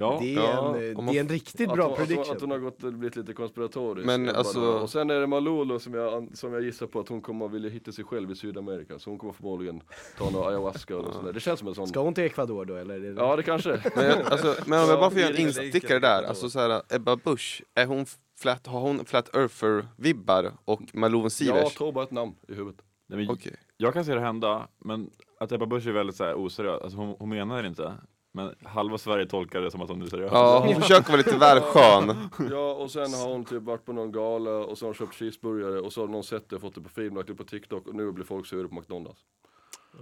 D: Ja,
E: det, är
B: ja,
E: en, eh,
B: om
E: det
B: man-
E: är en riktigt
C: att
E: bra
C: hon,
E: prediction.
C: Att, hon- att hon har gått, blivit lite konspiratorisk.
B: Men
C: Ebba
B: alltså-
C: då. Och sen är det Malolo som jag, an- som jag gissar på att hon kommer att vilja hitta sig själv i Sydamerika. Så hon kommer förmodligen ta någon ayahuasca eller sådär. Det känns som en sån.
E: Ska hon till Ecuador då eller? Är det-
C: Ja det kanske.
B: [LAUGHS] Men, jag, alltså, men om jag bara får
C: [LAUGHS]
B: göra en
F: Ja, det är
B: instickare
F: likt.
B: där, alltså så här, Ebba Busch, är hon flat, har hon Flat Earther-vibbar och Malou von
C: Jag
B: Sivers?
C: tror bara ett namn i huvudet.
D: Nej, men
B: Okej.
D: jag kan se det hända, men att Ebba Busch är väldigt så här oseriös, alltså hon, hon menar det inte. Men halva Sverige tolkar det som att hon är seriös.
B: Ja, hon försöker vara lite väl skön.
C: Ja och sen har hon typ varit på någon gala och så har hon köpt cheeseburgare och så har någon sett det, fått det på film, lagt det på TikTok och nu blir folk sura på McDonalds.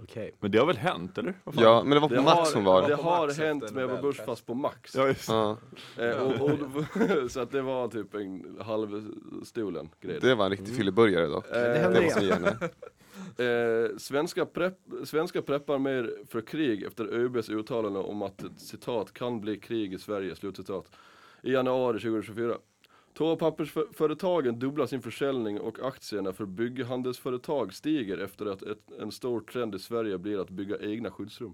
E: Okej.
D: Men det har väl hänt, eller? Vad fan?
B: Ja, men det var på
C: Det
B: Max
C: har-
B: hon var.
C: Det
F: På
C: har
F: Max
C: hänt
F: efter
C: med Ebba Busch
F: Nobelfest.
C: fast på Max.
D: Ja, just. det.
B: Ja,
C: Eh, och, och, [LAUGHS] så att det var typ en halvstolen grej.
B: det var en riktig fylleburgare dock.
C: Eh,
E: Det
B: Det
E: händer
B: måste jag
E: igen.
B: ge henne.
C: Eh, svenska, prepp, svenska preppar mer för krig efter ÖBs uttalande om att ett citat kan bli krig i Sverige, slutcitat, i januari 2024. Toapappersföretagen dubblar sin försäljning och aktierna för bygghandelsföretag stiger efter att ett, en stor trend i Sverige blir att bygga egna skyddsrum.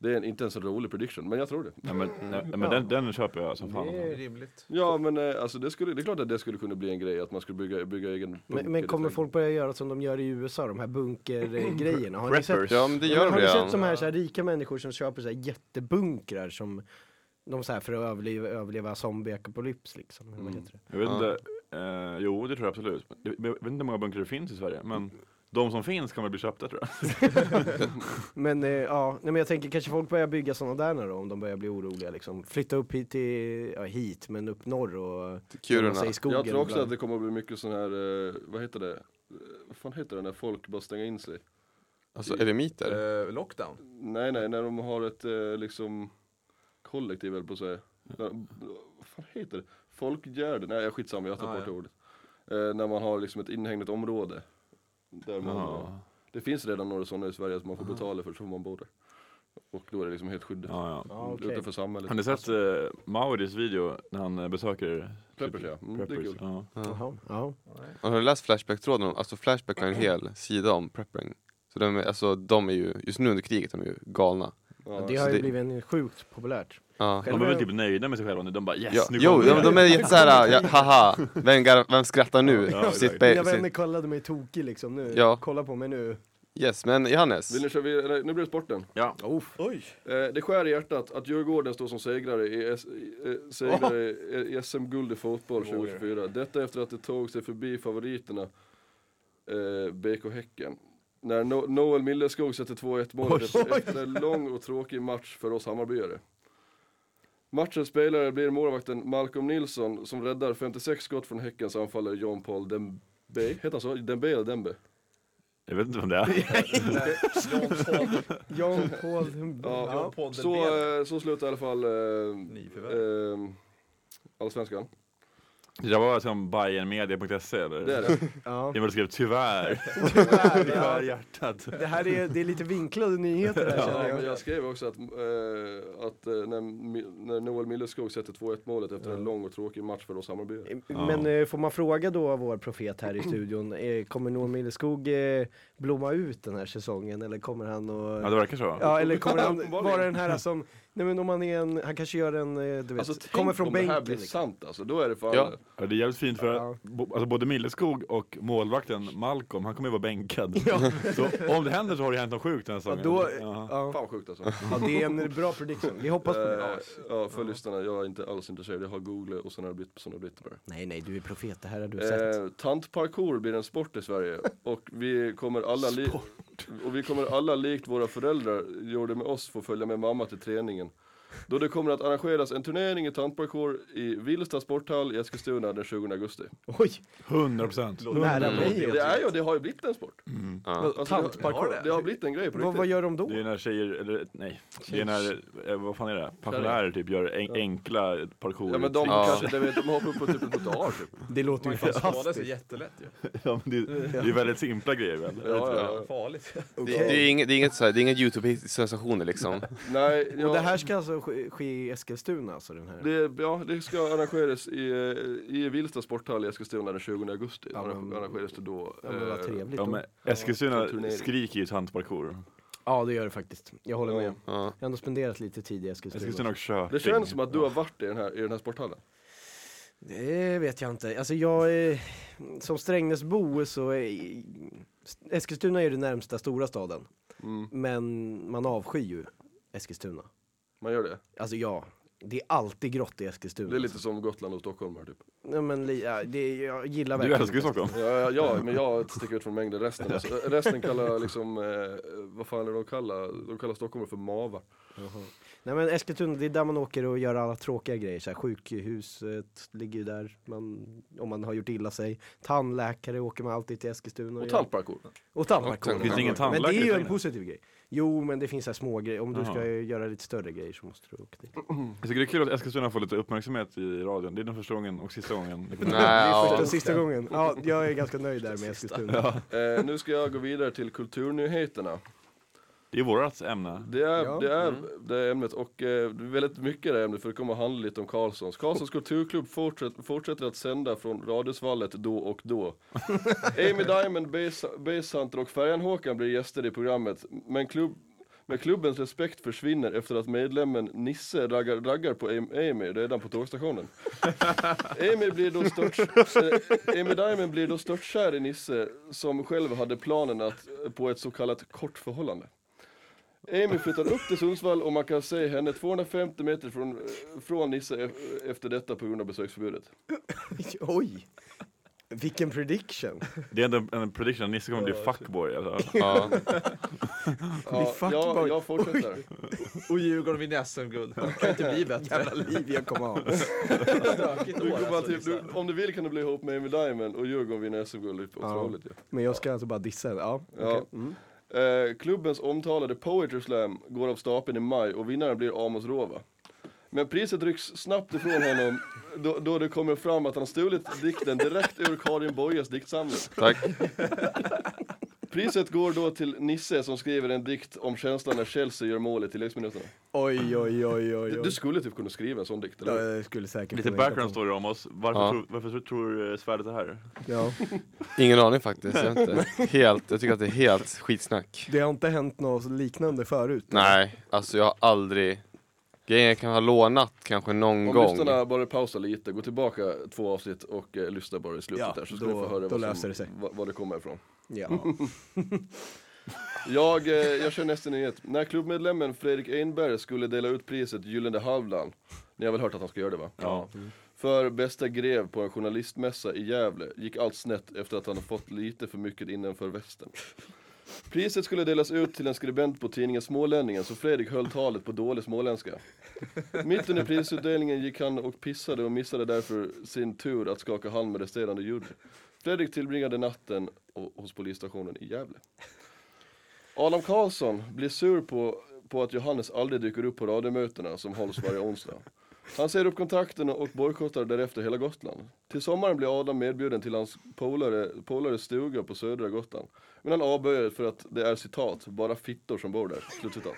C: Det är en, inte ens en rolig prediction, men jag tror det.
D: Nej, men, nej, men den, den köper jag som fan. alltså.
E: Det
F: Det är
E: är-
F: rimligt.
C: Ja, men eh, alltså det, skulle, det är klart att det skulle kunna bli en grej, att man skulle bygga, bygga egen bunker
E: Men,
C: i
E: men kommer
C: trädgården.
E: folk börja göra som de gör i USA, de här bunkergrejerna? Har ni sett,
D: Preppers.
B: Ja, men det
E: Ja, men har
B: gör hon
E: ni sett
B: redan.
E: de här, så här rika människor som köper så här jättebunkrar som de så här för att överleva, överleva zombieapokalyps liksom? Eller vad
C: Mm.
E: heter det?
D: Jag vet
B: Ja.
D: inte, eh, jo det tror jag absolut. Jag vet jag vet inte hur många bunkrar det finns i Sverige, men de som finns kommer bli köpta tror jag.
E: Men eh, ja, nej, men jag tänker kanske folk börjar bygga sådana där nu då om de börjar bli oroliga liksom. Flytta upp hit till, ja hit, men upp norr och gömma sig
B: Kiruna.
E: i skogen.
C: Jag tror också
E: ibland.
C: att det kommer att bli mycket sån här, eh, vad heter det? Eh, Vad fan heter det när folk bara stänger in sig?
B: Alltså eremiter.
F: Eh, lockdown?
C: Nej nej, när de har ett eh, liksom kollektiv eller på att säga. När- Vad fan heter det? Folkgärde? Nej skitsamma, jag tar
F: Ah,
C: bort
F: ja.
C: ordet. Eh, när man har liksom ett inhägnat område. Där man,
D: Ja,
C: Det finns redan några sådana i Sverige som man får betala för så får man bo där. Och då är det liksom helt skyddat.
D: ja, ja.
E: Ja, okej.
C: Utanför samhället.
D: Har ni sett eh, Mauris video när han eh, besöker
C: Preppers ja, mm, det är
D: Preppers?
C: kul.
D: Ja.
E: Jaha, ja.
B: Har du läst Flashback-tråden? om- Alltså Flashback har en hel sida om prepping. Så de, är- alltså, de är ju, just nu under kriget, de är ju galna.
C: Ja,
E: Det har ju
B: det-
E: blivit en sjukt populärt.
B: Ja.
D: De är väl typ nöjda med sig själva nu, de bara yes
B: Ja,
D: nu
B: jo,
D: kommer
B: de,
D: det.
B: de är jättesåhär, ja, haha, vem, gar- vem skrattar nu?
D: Ja,
B: sitt
D: exakt.
B: be-
E: Mina vänner
B: sitt,
E: kallade mig tokig liksom nu.
B: Ja.
E: Kolla på mig nu.
B: yes, men Johannes,
C: Vill ni köra vidare? Nu blir det sporten.
D: Ja.
F: Oj!
C: Eh, det skär i hjärtat att Djurgården står som segrare i, S- i, eh, segrare i- i SM-guld i fotboll 2024. Detta efter att det tog sig förbi favoriterna eh, BK Häcken. När no Noel Milleskog sätter 2-1 målet efter, efter en lång och tråkig match för oss Hammarbyare. Matchens spelare blir målvakten Malcolm Nilsson som räddar 56 skott från Häckens anfallare John Paul Dembe. Heter han så? Dembe eller Dembe?
D: Jag vet inte vem det är.
F: John Paul,
E: John Paul.
C: Ja,
F: John Paul
C: Så,
F: Delbel.
C: eh, så slutar i alla fall eh,
F: Nyförvärv.
C: eh, Allsvenskan.
D: Det där var som Bayernmedia.se eller?
C: Det är det.
E: Ja.
D: Jag skrev tyvärr,
E: Tyvärr, ja.
D: tyvärr hjärtat.
E: Det här är, det är lite vinklade nyheter där
C: [LAUGHS] Ja,
E: känner
C: men
E: jag.
C: jag skrev också att, eh, att eh, när, Mi- när Noel Milleskog sätter 2-1 målet efter en lång och tråkig match för oss Hammarbyare.
E: Men eh, får man fråga då vår profet här i studion, eh, kommer Noel Milleskog eh, blomma ut den här säsongen eller kommer han
D: Ja
E: att...
D: det verkar så.
E: Ja, eller kommer han
C: Uppenbarligen.
E: vara den här som, nej men om han är en, han kanske gör en, eh, du vet,
C: Alltså tänk
E: kommer från
C: om det här
E: bänken.
C: blir
E: liksom.
C: sant alltså, då är det fan...
B: Ja.
D: Ja, det är jävligt fint för
E: Ja.
D: bo- alltså, både Milleskog och målvakten Malcolm, han kommer ju vara bänkad.
E: Ja,
D: Så om det händer så har det hänt något sjukt den här
E: ja,
D: säsongen.
E: då,
D: Ja.
E: ja.
C: Fan vad sjukt alltså. Eh,
E: ja, det är en bra prediction, vi hoppas på
C: Ja,
E: det.
C: för lyssnarna, jag är inte alls intresserad. Jag har googlat och sen har det blivit som det har blivit bara.
E: Nej, nej, du är profet, det här har du sett.
C: Eh, tantparkour blir en sport i Sverige och vi kommer alla, li- och vi kommer alla likt våra föräldrar gjorde med oss få följa med mamma till träningen. Då det kommer att arrangeras en turnering i tantparkour i Vilsta sporthall i Eskilstuna den 20 augusti.
E: Oj,
D: 100 procent.
E: nära mig.
C: Det är ju, det har ju blivit en sport.
B: Ja.
C: Alltså, det har-
E: Tantparkour.
C: Det har blivit en grej på
E: Mm. Vad, vad
C: riktigt.
E: gör de då?
D: Det är när tjejer, eller nej, det är när, eh, vad fan är det? Pensionärer typ gör en, enkla parkour.
C: Ja men de
B: Ja.
C: kanske, de, vet, de hoppar upp på typ ett par typ.
E: Det låter ju
F: Man kan skada sig
E: fantastiskt.
F: jättelätt ju.
D: Ja, men det, det är väldigt simpla grejer väl?
C: Ja, ja, ja.
F: Farligt.
B: Det, det är inget, det är inget, så här, det är inget YouTube-sensationer liksom.
C: Nej, ja,
E: Och det här ska alltså ske, ske i Eskilstuna alltså den här?
C: det, ja, det ska arrangeras i, eh, i Vilsta sporthall i Eskilstuna den 20 augusti.
E: Ja, men-
C: Arra- Arrangeras det då.
E: Ja men vad
C: eh,
E: trevligt.
D: Ja, men
C: en
D: Eskilstuna
C: turnering.
D: skriker ju tantparkour.
E: Ja det gör det faktiskt. Jag håller med. Jag
B: Ja.
E: har ändå spenderat lite tid i Eskilstuna.
D: Eskilstuna och Köping.
C: Det känns som att du har varit i den här, i den här sporthallen.
E: Det vet jag inte. Alltså jag, eh, som Strängnäsbo så är Eskilstuna är ju den närmsta stora staden.
C: Mm,
E: Men man avskyr ju Eskilstuna.
C: man gör det.
E: Alltså ja, det är alltid grått i Eskilstuna.
C: Det är lite som Gotland och Stockholm här typ.
E: Nej men li, ja, det, jag gillar
D: Du
E: verkligen
D: älskar ju Stockholm.
C: Ja, ja, ja, men jag sticker ut från mängden. Resten, alltså, resten kallar liksom, eh, vad fan är det de kallar? De kallar Stockholm för mavar.
E: Nej men Eskilstuna, det är där man åker och gör alla tråkiga grejer. Så här, sjukhuset ligger ju där, man, om man har gjort illa sig. Tandläkare åker man alltid till Eskilstuna.
C: Och
E: gör.
C: tantparkour.
E: och tandläkare.
B: Finns det
D: ingen
E: men det
D: tandläkare
E: är
D: i
E: ju en
D: Strängnäs?
E: positiv grej. Jo men det finns så här små grejer. om du
D: Jaha.
E: ska göra lite större grejer så måste du åka dit.
D: Jag tycker det är kul att Eskilstuna får lite uppmärksamhet i radion. Det är den första gången och sista gången.
B: [LAUGHS]
D: det kommer.
B: Nej,
E: Det är
B: ja.
E: första och sista gången. Ja, jag är ganska nöjd där med Eskilstuna.
C: Eh, nu ska jag gå vidare till kulturnyheterna.
D: Det är vårat ämne.
C: Det är,
E: Ja.
C: det är det ämnet och eh, det är väldigt mycket det ämnet för det kommer att handla lite om Karlssons. Karlssons kulturklubb fortsätt, fortsätter att sända från Radiosvallet då och då. Amy Diamond, Base- Basshunter och Färjan-Håkan blir gäster i programmet men, klubb, men klubbens respekt försvinner efter att medlemmen Nisse raggar, raggar på Am- Amy redan på tågstationen. Amy, blir då stört, eh, Amy Diamond blir då störtkär i Nisse som själv hade planen att, eh, på ett så kallat kort förhållande. Amy flyttar upp till Sundsvall och man kan se henne 250 meter från, från Nisse e- efter detta på grund av besöksförbudet.
E: [LAUGHS] Oj! Vilken prediction!
D: Det är ändå en, en prediction att Nisse kommer bli fuckboy.
C: [LAUGHS]
D: Alltså.
B: Ja.
C: Ja,
E: fuck boy.
C: jag, jag fortsätter.
F: Och Djurgården vinner SM-guld. Det kan inte bli bättre.
E: Jävla liv jag kommer ha.
F: Stökigt
C: Du
F: år
C: kommer
F: alltså.
C: typ, du, om du vill kan du bli ihop med Amy Diamond och Djurgården vinner SM-guld i förhållet. Ja.
E: Men jag ska alltså bara dissa henne. Ja,
C: Ja.
E: okej. Mm.
C: Eh, klubbens omtalade Poetry Slam går av stapeln i maj och vinnaren blir Amos Rova. Men priset rycks snabbt ifrån honom då, då det kommer fram att han stulit dikten direkt ur Karin Boyes diktsamling.
B: Tack.
C: Priset går då till Nisse som skriver en dikt om känslan när Chelsea gör mål i tilläggsminuterna.
E: Oj, oj, oj, oj,
C: Du,
E: oj.
C: du skulle typ kunna skriva en sån dikt, eller
E: Ja,
C: hur?
E: jag skulle säkert
D: Lite
E: kunna hitta
D: background
E: på-
D: story om oss. Varför,
B: Ja.
D: tror, varför tror eh, svärdet det här?
E: Ja.
B: Ingen aning faktiskt. Jag, vet inte. Helt, jag tycker att det är helt skitsnack.
E: Det har inte hänt något liknande förut.
B: Nej, alltså jag har aldrig... Grejen är att jag kan ha lånat kanske någon
C: Om
B: gång.
C: lyssnarna bara pausar lite, gå tillbaka två avsnitt och eh, lyssna bara i slutet
E: Ja,
C: där så ska
E: då-
C: ni få höra
E: då
C: vad,
E: löser det sig.
C: vad, vad det kommer ifrån. [LAUGHS]
E: Ja.
C: Jag, eh, jag kör nästa nyhet. När klubbmedlemmen Fredrik Einberg skulle dela ut priset Gyllene Halvdan, ni har väl hört att han ska göra det va?
D: Ja.
C: För bästa grev på en journalistmässa i Gävle gick allt snett efter att han har fått lite för mycket innanför västen. Priset skulle delas ut till en skribent på tidningen Smålänningen så Fredrik höll talet på dålig småländska. Mitt under prisutdelningen gick han och pissade och missade därför sin tur att skaka hand med resterande jury. Fredrik tillbringade natten o- hos polisstationen i Gävle. Adam Karlsson blir sur på, på att Johannes aldrig dyker upp på radiomötena som hålls varje onsdag. Han säger upp kontakten och bojkottar därefter hela Gotland. Till sommaren blir Adam medbjuden till hans polare, polares stuga på södra Gotland. Men han avböjer för att det är citat, bara fittor som bor där. Slutcitat.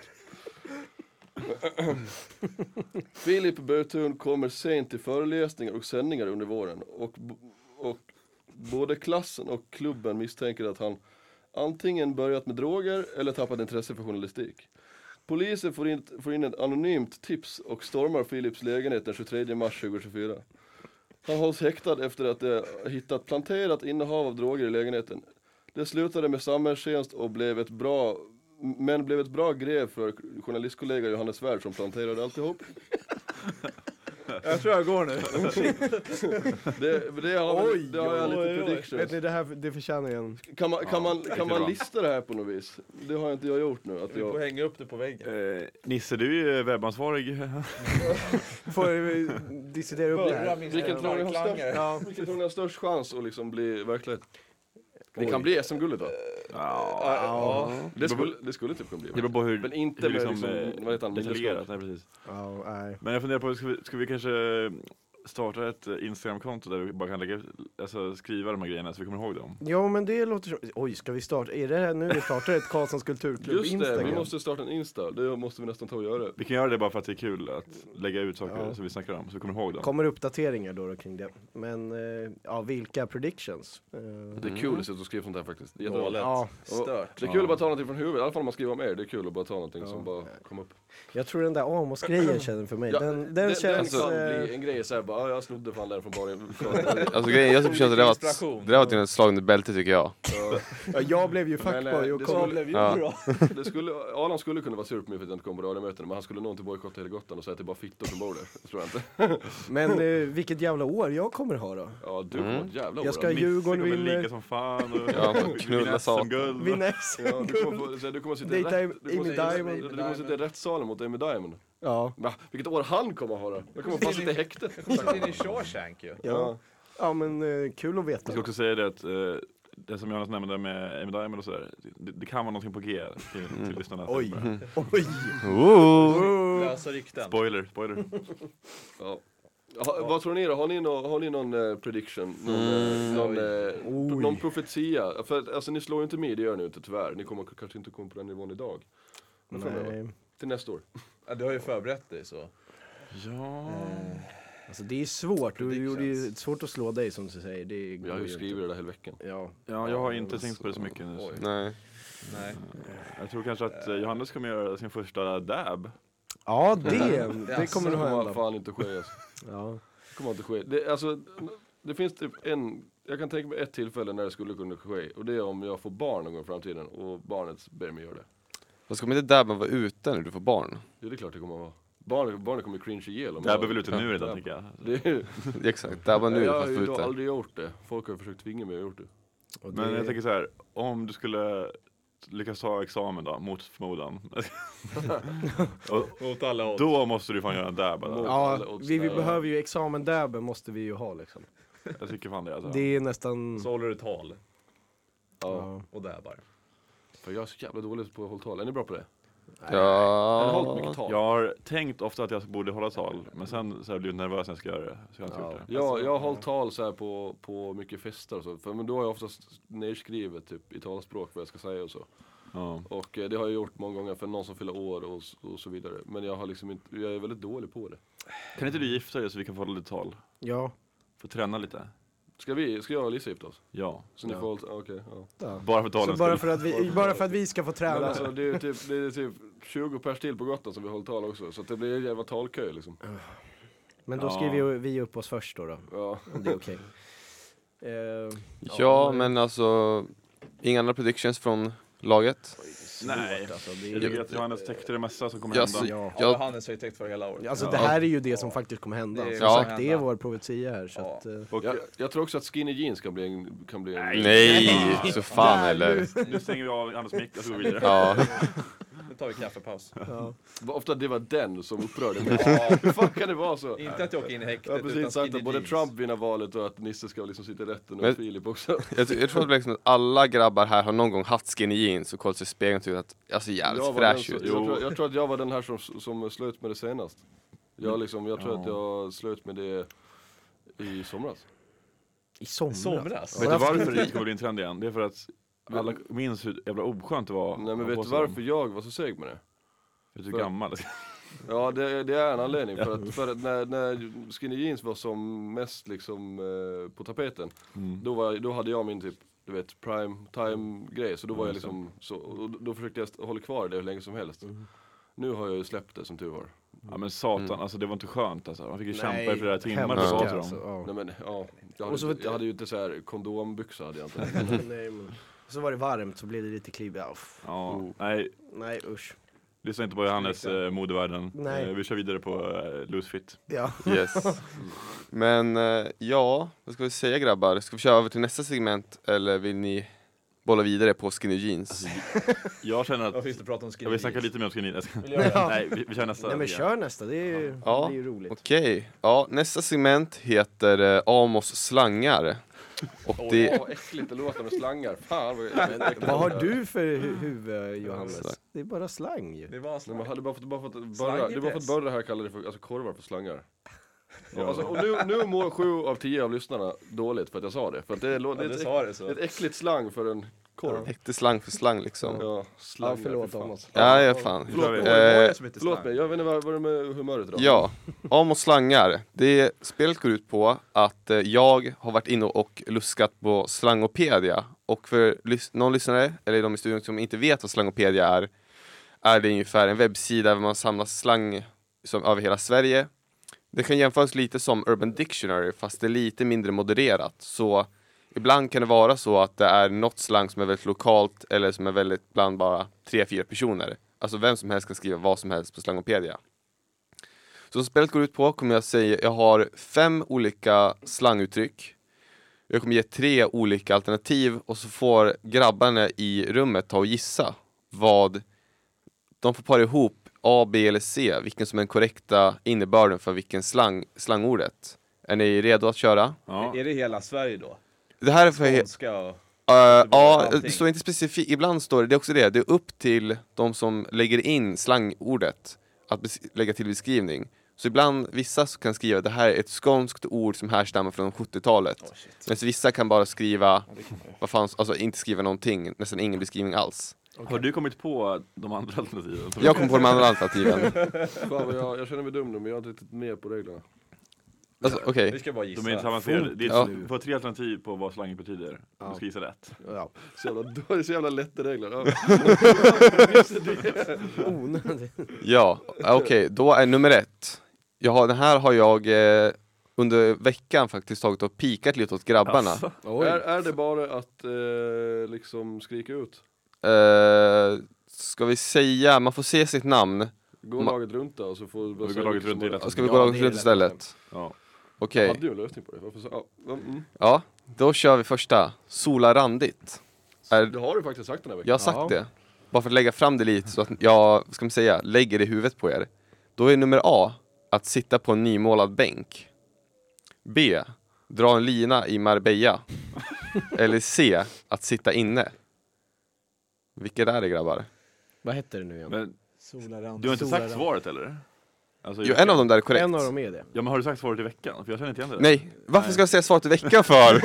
C: [CLEARS THROAT] Filip Bötun kommer sent till föreläsningar och sändningar under våren och, b- och både klassen och klubben misstänker att han antingen börjat med droger eller tappat intresse för journalistik. Polisen får in, får in ett anonymt tips och stormar Philips lägenhet den 23 mars 2024. Han hålls häktad efter att de hittat planterat innehav av droger i lägenheten. Det slutade med samhällstjänst och blev ett bra men blev ett bra grev för journalistkollega Johannes Svärd som planterade alltihop.
F: Jag tror jag går nu.
C: Det, det har, oj, det har jag lite
E: Vet ni,
C: predictions.
E: det här det förtjänar ju en...
C: Kan man, kan, man, kan
B: bra.
C: man lista det här på något vis? Det har inte jag gjort nu. Att
F: Du får
C: jag,
F: hänga upp det på väggen.
D: Eh, Nisse, du är ju webbansvarig. [LAUGHS]
E: Får vi diskutera upp det här?
C: vilken tror ni har störst,
E: Ja,
C: vilken tror ni har störst chans att liksom bli verklighet? Det kan bli SM-guldet va?
F: Ja.
C: Det skulle, det skulle typ kunna bli.
D: Det beror på hur,
C: Men inte
D: hur
C: med liksom,
D: eh,
C: vad heter han,
D: detaljerat.
C: ledarskap.
D: Nej, precis.
E: ja nej.
D: Men jag funderar på, ska vi, ska vi kanske eh, starta ett eh, Instagramkonto där vi bara kan lägga, alltså, skriva de här grejerna så vi kommer ihåg dem?
E: Jo men det låter som... Oj, ska vi starta... Är det här nu vi startar ett Karlssons kulturklubb
C: Just det,
E: Instagram?
C: vi måste starta en Insta. Det måste vi nästan ta och göra.
D: Vi kan göra det bara för att det är kul att lägga ut saker
E: Ja.
D: som vi snackar om, så vi kommer ihåg dem.
E: Kommer uppdateringar då, då kring det. Men, eh, ja vilka predictions? Eh,
C: Det är kul att sitta och skriva sånt här faktiskt. Det är jättebra.
F: Galet.
E: ja,
F: Stört.
C: Det är kul att bara ta någonting från huvudet, i alla fall om man skriver om er. Det är kul att bara ta någonting som bara kom upp.
E: jag tror den där Amos-grejen känner för mig,
C: Ja,
E: den, den, känns...
C: kan
E: eh,
C: bli en grej såhär bara, "Ja, jag snodde fan den från [LAUGHS] eh, baren.
B: Alltså grejen, jag typ känner att det där var,
F: Inspiration.
B: det där var till ett slag under bältet tycker jag.
E: ja, jag blev ju
C: Men, eh,
E: fuckboy och
C: det
E: kom...
F: Det
C: skulle-
F: blev ju
B: Ja.
F: bra.
C: Det skulle, Adam skulle kunna vara sur på mig för att jag inte kom på radiomötena men han skulle nog inte bojkotta hela Gotland och säga att det är bara fittor som bor där. Det tror jag inte.
E: Men eh, vilket jävla år jag kommer ha då.
C: Ja du kommer mm. ett jävla år.
E: Jag ska
C: Adam.
E: ju- Djurgården
D: Nisse kommer
E: vinner.
D: ligga som fan och [LAUGHS]
B: Ja, de knullar satan.
C: [LAUGHS]
D: SM-guld.
E: Vinna
C: Ja, du, kommer,
E: SM-guld.
C: få- så här, du kommer sitta i
E: Dejta
C: rätt-
E: Amy
C: du kommer sitta-
E: Diamond.
C: du kommer sitta i rättssalen mot Amy Diamond.
E: Ja.
C: Va? Vilket år han kommer ha då? Jag kommer fan sitta i häktet.
F: Satt in i Shawshank ju.
E: Ja. ja men eh, kul att
D: Jag ska
E: veta.
D: också säga det att eh, det som Jonas nämnde med Amy Diamond och sådär, det, det kan vara någonting på G till,
B: Mm.
D: till lyssnarna. Mm.
E: Oj. [LAUGHS] Mm. Oj.
F: Lösa rykten.
D: Spoiler,
E: [LAUGHS]
D: spoiler.
C: Ja. Ha, vad tror ni då? Har ni någon, har ni någon eh, prediction? Någon, eh, någon, eh, någon profetia? För att, alltså ni slår ju inte med, det gör ni inte tyvärr. Ni kommer k- kanske inte komma på den nivån idag. Men framöver.
E: Nej.
C: Till nästa år.
F: Ja, du har ju förberett dig så.
D: Ja.
E: Alltså det är svårt. Du
F: Predictions.
E: gjorde ju svårt att slå dig som du säger. Det går
C: Jag har ju
E: inte.
C: skrivit det där hela veckan.
E: Ja.
D: ja, jag har inte tänkt på det så mycket nu. så-
B: Nej.
F: Nej.
D: Jag tror kanske att eh, Johannes kommer göra sin första dab.
E: Ja det, det
F: Jaså.
E: kommer nog
C: Det kommer
E: hända.
C: fan inte ske alltså.
E: Ja.
C: Det kommer inte ske. Det, alltså, det finns typ en, jag kan tänka mig ett tillfälle när det skulle kunna ske. Och det är om jag får barn någon gång i framtiden och barnet ber mig göra det.
B: Vad ska man inte dabben vara ute när du får barn? [LAUGHS]
C: Jo det är klart det kommer vara. Barn, barnet kommer cringe ihjäl om
D: Dab är
C: jag-
D: väl ute nu redan
C: Dab.
D: tänker jag.
C: Det är,
B: Exakt, dabba nu
C: jag har
B: fast
C: ju
B: på
C: då
B: ute.
C: aldrig gjort det. Folk har ju försökt tvinga mig att gjort det.
E: Och
D: Men
E: det-
D: jag tänker så här, om du skulle lyckas ta examen då, mot förmodan. och
F: Mot alla odds.
D: då måste du fan göra en dab. Alltså.
E: Ja, vi, vi behöver ju examen där måste vi ju ha liksom.
D: Jag tycker fan det. Alltså.
E: Det är nästan...
F: Så håller du tal
C: Ja,
E: Ja.
F: och dabbar.
C: för jag är så jävla dålig på att hålla tal. Är ni bra på det? Har ni hållit
B: Ja.
C: mycket tal?
D: Jag har tänkt ofta att jag borde hålla tal, men sen så har jag blivit nervös när jag ska göra det. Så jag har inte gjort det.
C: Ja, jag har hållit tal så här på, på mycket fester och så. För, men då har jag oftast nedskrivet typ, i talspråk vad jag ska säga och så.
D: Ja.
C: Och eh, det har jag gjort många gånger för någon som fyller år och, s- och så vidare. Men jag, har liksom inte, jag är väldigt dålig på det.
D: Kan inte du gifta dig så vi kan få hålla lite tal?
E: Ja.
D: Få träna lite?
C: Ska, vi, ska jag och Lisa gifta oss?
D: Ja.
C: Så ni
E: Ja.
C: får hålla tal? Okej, ja.
E: ja.
D: Bara för
E: Så
D: talens
E: bara
D: skull.
E: för, att vi, bara för att vi ska få
C: Men
E: träna.
C: alltså, det är typ, det är typ 20 pers till på Gotland som vi håller tal också. Så att det blir en jävla talkö liksom.
E: Men då
D: Ja.
E: skriver vi, vi upp oss först då, då
C: Ja.
E: om det är okej. Eh,
B: ja, men alltså, inga andra predictions från laget?
D: Nej.
E: Alltså,
D: Jag
E: det,
D: tycker att Johannes täckte det mesta som kommer
B: Jag
D: hända.
B: ser-
E: ja.
F: Ja,
B: Jag-
F: Hannes har ju täckt för hela året.
E: alltså det här är ju det som faktiskt kommer hända.
F: Det
E: Som
F: är-
B: Ja.
E: sagt, det är vår profetia här. Så
F: Ja.
E: att, eh,
D: Och,
C: Jag, jag tror också att skinny jeans kan bli en... Kan bli en
B: Nej, så fan heller.
D: Nu stänger vi av Anders mick och så går vi vidare.
B: Ja.
F: Nu tar vi kaffepaus.
E: ja.
C: Vad Ofta det var den som upprörde mig.
F: Ja,
C: [LAUGHS] Hur fan kan det vara så?
F: inte att jag åker in i häktet
C: Jag har
F: utan
C: precis sagt att
F: skinny
C: både
F: jeans.
C: Trump vinner valet och att Nisse ska liksom sitta i rätten och
B: Men-
C: Filip också.
B: Jag, tror- jag tror liksom att alla grabbar här har någon gång haft skinny jeans och kollat sig i spegeln och tyckt att jag ser jävligt
C: Jag var den
B: fräsch
C: som,
B: ut.
C: jag, tror, jag tror att jag var den här som, som slöt med det senast. Jag, liksom, jag tror att jag slöt med det i somras.
E: I somras.
F: Somras?
D: Vet du varför det kommer bli en trend igen? Det är för att alla minns hur jävla oskönt det var.
C: Nej
D: att
C: men vet
D: ha på
C: du
D: sig dem.
C: varför jag var så seg med det?
D: För att du är gammal.
C: Ja det, det är en anledning för att, för att när, när skinny jeans var som mest liksom eh, på tapeten
D: Mm.
C: då, var, jag- då hade jag min typ du vet prime time grej så då var jag liksom så, och då- då försökte jag st- hålla kvar det hur länge som helst. Nu har jag ju släppt det som tur var.
D: Ja men satan, alltså det var inte skönt alltså. Man fick ju kämpa i flera timmar för att
E: Hemska,
D: vara till
E: alltså.
D: dem.
E: ja.
C: Nej men ja, jag hade,
E: Och så
C: ju
E: vet-
C: inte, jag hade ju inte så här kondombyxor hade jag [LAUGHS] inte.
E: [LAUGHS] Nej, men. Så var det varmt så blev det lite klibbigt. Ja, pff.
D: Ja, nej.
E: Nej usch.
D: Lyssna inte på Johannes
F: Lyssna.
D: eh, modevärlden.
E: Nej.
D: Eh, vi kör vidare på eh, loose fit.
E: Ja.
B: Yes. [LAUGHS] Men eh, ja, vad ska vi säga grabbar? Ska vi köra över till nästa segment eller vill ni bolla vidare på skinny jeans?
D: Jag känner
F: Vad
D: att
F: finns det att prata om skinny
D: jag vill snacka
F: jeans?
D: lite mer om skinny. Jag ska-
F: Vill jag göra?
E: Ja.
D: Nej, vi, vi kör nästa.
E: Nej men
D: igen.
E: kör nästa, det är ju,
B: Ja.
E: det är ju roligt.
B: Okej, ja nästa segment heter eh, Amos slangar. Och
C: Åh,
B: det,
C: vad äckligt det låter med slangar. Fan vad [LAUGHS] äckligt.
E: Vad har du för hu- huvud
B: Exakt.
E: Johannes? Det är bara slang ju.
F: Det
C: Nej,
F: var
C: man
F: slang.
C: hade bara fått, bara fått börja,
F: Slang i
C: det är bara fått
F: press.
C: börja det här kalla det för, alltså korvar för slangar. [LAUGHS] Ja, alltså, och nu, nu mår sju av tio av lyssnarna dåligt för att jag sa det. För att det, lå-
F: Ja,
C: det, är
F: du
C: ett,
F: sa
C: äck-
F: det
C: det är
F: så.
C: ett äckligt slang för en korv.
B: Äkte slang för slang liksom.
C: Ja,
E: Ja,
C: slangar.
E: förlåt
C: fy fan.
E: Amos.
B: Ja, ja fan.
D: Nu kör vi.
B: Eh,
C: Förlåt mig, jag vet inte vad vad är det med humöret idag?
B: Ja, Amos slangar. Det spelet går ut på att eh, jag har varit inne och luskat på Slangopedia. Och för lys- någon lyssnare, eller de i studion som inte vet vad Slangopedia är, är det ungefär en webbsida där man samlar slang som, över hela Sverige. Det kan jämföras lite som Urban Dictionary, fast det är lite mindre modererat. Så ibland kan det vara så att det är något slang som är väldigt lokalt eller som är väldigt bland bara tre, fyra personer. Alltså vem som helst kan skriva vad som helst på Slangopedia. Så som spelet går ut på kommer jag säga, jag har fem olika slanguttryck. Jag kommer ge tre olika alternativ och så får grabbarna i rummet ta och gissa vad de får para ihop A, B eller C, vilken som är den korrekta innebörden för vilken slang, slangordet. Är ni redo att köra?
D: Ja.
F: Är det hela Sverige då?
B: Det här är för... he-
F: Skånska och...
B: Eh, ja,
F: allting.
B: det står inte specifikt, ibland står det, det är också det, det är upp till de som lägger in slangordet att bes- lägga till beskrivning. Så ibland, vissa så kan skriva det här är ett skånskt ord som härstammar från 70-talet.
F: Åh, shit.
B: Men vissa kan bara skriva, vad fan, alltså inte skriva någonting, nästan ingen beskrivning alls.
D: Har du kommit på de andra alternativen?
B: Jag kom på de andra alternativen.
C: Fan, vad jag, jag känner mig dum nu men jag är inte riktigt med på reglerna.
B: Alltså, Okej,
F: Vi ska bara gissa.
D: De är inte sammanfogade. Det är
B: Ja.
D: ett, Du får tre alternativ på vad slangen betyder. Du ska gissa rätt.
E: Ja.
C: Så jävla, [LAUGHS] det är så jävla lätta regler. Ja.
E: Onödigt.
B: ja, eh, okej, då är nummer ett. Jag har, den här har jag eh, under veckan faktiskt tagit och pikat lite åt grabbarna.
D: Alltså,
C: Är,
E: Oj.
C: är det bara att eh, liksom skrika ut?
B: Eh, ska vi säga, man får säga sitt namn.
C: Gå
B: Ma-
C: laget runt då och så får du bara
D: Vi går
C: säga
D: laget
C: vilka som
D: runt i
C: har-
D: detta.
B: Ska vi
E: Ja,
B: gå
E: det
B: långt
E: är
B: runt
E: lätt.
B: istället?
D: ja.
B: Okej,
C: Hade du en lösning på det? Varför så? Ja, ja, mm.
B: ja. Då kör vi första. Sola randigt. Är,
C: Det har du faktiskt sagt den här veckan.
B: jag har sagt
E: Ja.
B: det. Bara för att lägga fram det lite så att jag, vad ska man säga, lägger det i huvudet på er. Då är nummer A, att sitta på en nymålad bänk. B, dra en lina
E: [LAUGHS]
B: i Marbella. Eller C, att sitta inne. Vilket är det grabbar?
E: Vad hette det nu igen?
D: Men
F: Solarand.
D: du har inte sagt
E: Solarand.
D: svaret eller? Alltså,
B: Jo, en av dem där är korrekt.
E: En av dem är det.
D: Ja men har du sagt svaret i veckan? För jag känner inte igen det.
B: Nej, varför ska jag säga svaret i veckan för?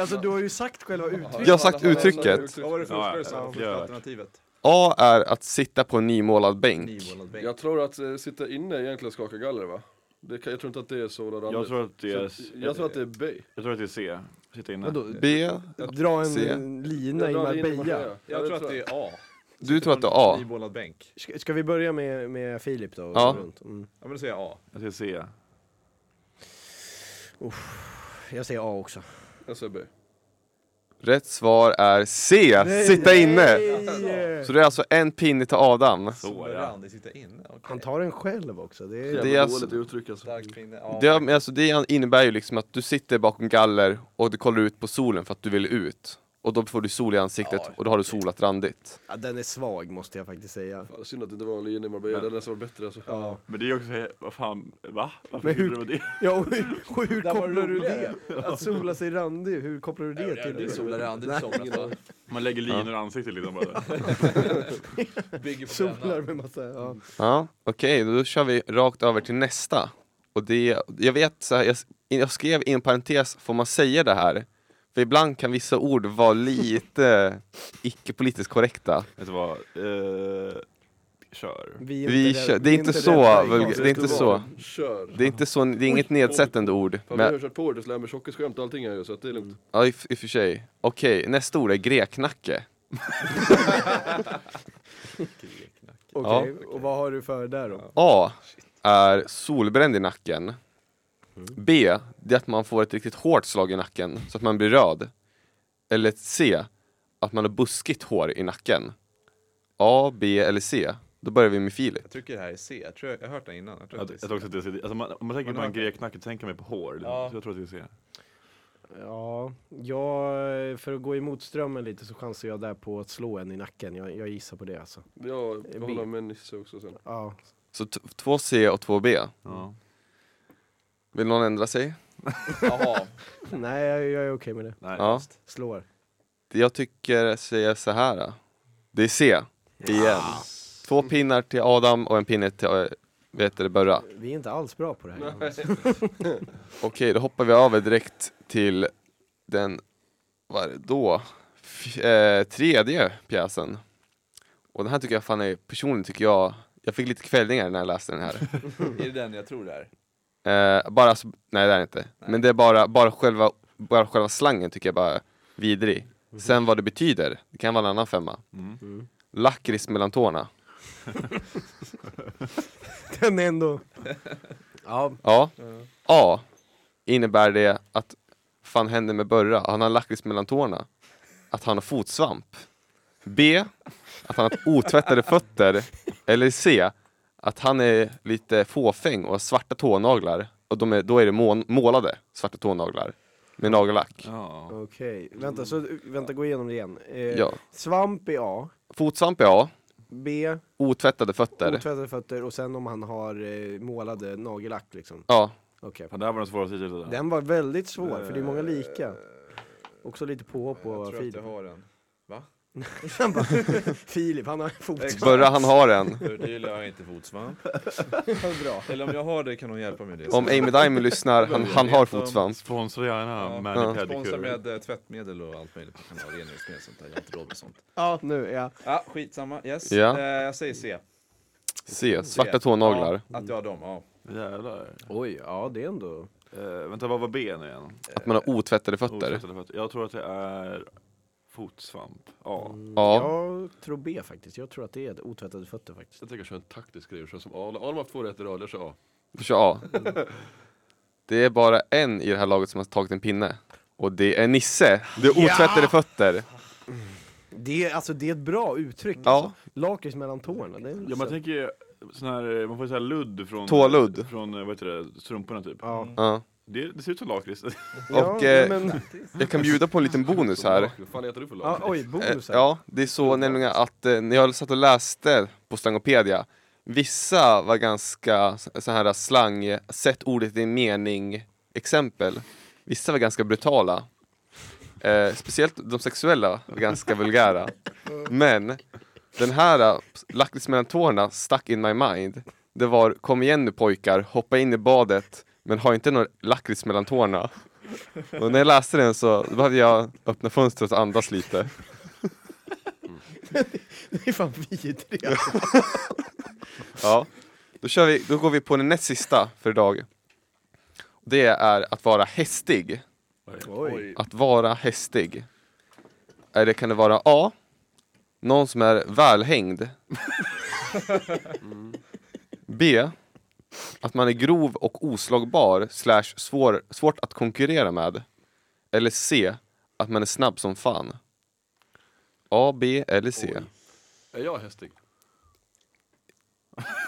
E: Alltså du har ju sagt själva uttrycket.
B: Jag har sagt uttrycket.
F: Vad var det första
D: Ja,
F: du sa?
D: ja,
F: Första
D: ja.
F: alternativet?
B: A är att sitta på en nymålad bänk.
F: Nymålad bänk.
C: Jag tror att eh, sitta inne är egentligen skaka galler va? Det kan, jag tror inte att det är Sola Randet.
D: Jag tror att det är,
C: Så att- jag tror att det är Bay.
D: jag tror att det är C. Sitta inne.
E: Vadå?
B: B,
E: Dra en
B: Se.
E: lina i Marbella.
F: Jag tror att det är A.
B: du tror att det är A.
F: Nymålad bänk.
E: Ska, ska vi börja med, med Filip då? och
B: Ja.
E: gå Runt? Mm.
F: Ja men då säger jag A.
D: Jag säger C.
E: Jag säger A också.
C: Jag säger Bay.
B: Rätt svar är C, sitta inne! Så det är alltså en pinne till Adam.
D: Så ja.
F: Solarand, det sitter inne. Okej.
E: Han tar den själv också. Det är...
B: Det
C: Det
B: är
C: är
B: alltså-
C: dåligt uttryck alltså.
F: Starkt pinne. Ja.
B: Det, men alltså, det innebär ju liksom att du sitter bakom galler och du kollar ut på solen för att du vill ut. Och då får du sol i ansiktet och då har du solat randigt.
E: Ja, den är svag måste jag faktiskt säga.
C: Fan, synd att det inte var en linje i Marbella,
D: Men-
C: det hade nästan varit bättre alltså.
E: Ja,
D: Men det är ju också, vad fan, va? Varför
E: Men hur-
D: gjorde du det?
E: ja och hur, och hur
F: Där var
E: kopplar du
F: roligare.
E: det? Att sola sig randig, hur kopplar du det till?
F: Det är Solarand, det är somras.
D: Man lägger linor i ansiktet liksom bara.
F: Bygger på
E: Solar
F: brännan.
E: med massa, ja.
B: Ja, okej, då kör vi rakt över till nästa. Och det, jag vet, så här, jag, jag skrev i en parentes, får man säga det här? För ibland kan vissa ord vara lite [LAUGHS] icke-politiskt korrekta.
D: Vet du vad? Eh, kör.
E: Vi
B: Vi
E: rädda-
B: kör, det är
E: vi
B: inte
E: rädda
B: så,
E: i
B: vulgär- det är
E: konst.
B: inte
C: Vet du
B: så.
C: vad? Kör!
B: Det är inte så, det är inget nedsättande ord.
C: Fan, vi har
B: Men,
C: kört på det där med tjockisskämt och allting här ju så att det är lugnt.
B: ja, i, i och för sig. Okej, nästa ord är greknacke.
E: Okej, och vad har du för där då?
B: A är solbränd i nacken. B, det är att man får ett riktigt hårt slag i nacken så att man blir röd. Eller C, att man har buskigt hår i nacken. A, B eller C? Då börjar vi med Filip.
F: Jag tycker det här är C. Jag, tror jag, jag har hört den innan. Jag tror
D: Jag,
F: att
D: jag
F: det
D: tror
F: är
D: också
F: C.
D: att det är CD. Alltså man, om man tänker
F: Har ni
D: på en
F: hört det?
D: grekknacket, tänker man på hår.
F: Ja.
D: Så jag tror att det är C.
E: Ja, jag, för att gå emot strömmen lite så chansar jag där på att slå en i nacken. Jag, jag gissar på det alltså.
C: Ja,
E: B.
C: jag håller med Nisse också sen.
E: Ja,
B: Så t- 2C och 2B.
D: Ja.
B: Vill någon ändra sig?
F: Jaha.
E: nej jag, jag är okej med det.
D: Nej.
B: Ja.
E: Slår.
B: Jag tycker säga så här. då. Det är C. Igen. Två pinnar till Adam och en pinne till eh, vet du, det, Burra.
E: Vi är inte alls bra på det här. Jonas.
B: Okej, då hoppar vi över direkt till den, vad är det då? F- eh, tredje pjäsen. Och den här tycker jag fan är, personligen tycker jag, jag fick lite kvällningar när jag läste den här.
F: är det den jag tror det är?
B: Eh, bara, så- nej det är det inte. Men det är bara, bara, själva, bara själva slangen tycker jag bara är vidrig. Sen vad det betyder, det kan vara en annan femma. Lakrits mellan tårna.
E: Den är ändå... Ja,
B: Ja. A. Innebär det att, fan händer med Burra? Han har lakrits mellan tårna. Att han har fotsvamp. B. Att han har otvättade fötter. Eller C. Att han är lite fåfäng och har svarta tånaglar. Och de är, då är det mån, målade svarta tånaglar. Med nagellack.
D: Ja.
E: okej. Vänta, så, vänta, gå igenom det igen. Eh,
B: Ja.
E: Svamp i A,
B: Fotsvamp är A.
E: B,
B: Otvättade fötter.
E: otvättade fötter och sen om han har eh, målade nagellack liksom.
B: ja.
E: Okej.
D: Fan, det här var den svåraste hittills. Det
E: Den var väldigt svår, för det är många lika. Också lite påhopp
F: jag
E: på
F: tror att
E: Filip.
F: jag har den.
E: [LAUGHS] Han bara, [LAUGHS] Filip, han har fotsvamp.
B: Burra han har en.
F: För det gillar jag
B: [LAUGHS]
F: inte fotsvamp.
E: Bra.
F: Eller om jag har det kan hon hjälpa mig med det.
B: Om Amy Diamond lyssnar, han, han har fotsvamp.
D: Sponsra gärna
F: Ja.
D: Magic Pedicure.
F: Sponsra med eh, tvättmedel och allt möjligt. Man kan ha rengöringsmedel och sånt där. Jag har inte råd med sånt.
E: Ja, nu, ja.
F: Ja, skitsamma. Yes.
B: Ja.
F: Eh, jag säger C.
B: C. Svarta
F: C.
B: tånaglar.
F: Ja, att jag har dem, ja.
D: Jävlar.
E: Oj, ja det är ändå...
D: Eh, vänta, vad var B nu igen?
B: Att man har otvättade fötter.
D: Otvättade fötter. Jag tror att det är fotsvamp. Ja.
B: Ja.
E: Jag tror B faktiskt. Jag tror att det är otvättade fötter faktiskt.
C: Jag tänker köra en taktisk grej, köra som Adam. Adam har haft två rätt i rad, jag kör A.
B: Du kör A. Det är bara en i det här laget som har tagit en pinne. Och det är Nisse. Det är otvättade fötter.
E: Det är, alltså, det är ett bra uttryck.
B: Ja.
E: Alltså. Lakrits mellan tårna. Det är
D: Ja, man tänker ju sån här, man får ju så här ludd från...
B: Tåludd.
D: Från, eh, vad heter det, strumporna typ.
E: Ja.
B: Ja.
D: Det, det ser ut som lakrits. [LAUGHS]
E: Ja,
B: Och,
E: nej,
B: eh,
E: men, [LAUGHS]
B: Jag kan bjuda på en liten bonus här.
C: Vad fan heter du för lag?
E: ja, oj,
B: Eh,
E: bonusar.
B: Ja, det är så nämligen att eh, när jag satt och läste på Slangopedia Vissa var ganska s- så här slang, sätt ordet i en mening exempel Vissa var ganska brutala eh, Speciellt de sexuella var ganska vulgära Men den här, eh, lakrits mellan tårna, stuck in my mind Det var, kom igen nu pojkar, hoppa in i badet men ha inte någon lakrits mellan tårna. Och när jag läste den så behövde jag öppna fönstret och andas lite.
E: [LAUGHS] Det är fan vidriga.
B: Ja, då, kör vi, då går vi på den näst sista för idag. Det är att vara hästig.
E: Oj.
B: Att vara hästig. Är det, kan det vara A. Någon som är välhängd. B. Att man är grov och oslagbar slash svår, svårt att konkurrera med. Eller C. Att man är snabb som fan. A, B eller C.
C: Är jag hästig?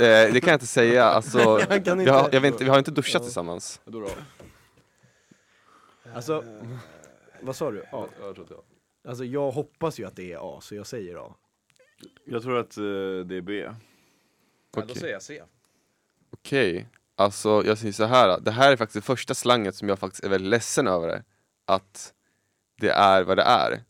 B: Eh, det kan jag inte säga, alltså,
E: [LAUGHS] Jag kan
B: vi, har,
E: inte.
B: jag vet, inte- vi har inte duschat tillsammans.
C: Då är det A.
E: Alltså, vad sa du? A?
C: Ja, jag tror att jag.
E: Alltså jag hoppas ju att det är A, så jag säger A.
D: Jag tror att eh, det är B.
F: ja då
B: Okej.
F: säger
E: Eh,
F: jag C.
B: Okej, alltså jag säger så här. Det här är faktiskt det första slanget som jag faktiskt är väldigt ledsen över. det. Att det är vad det är.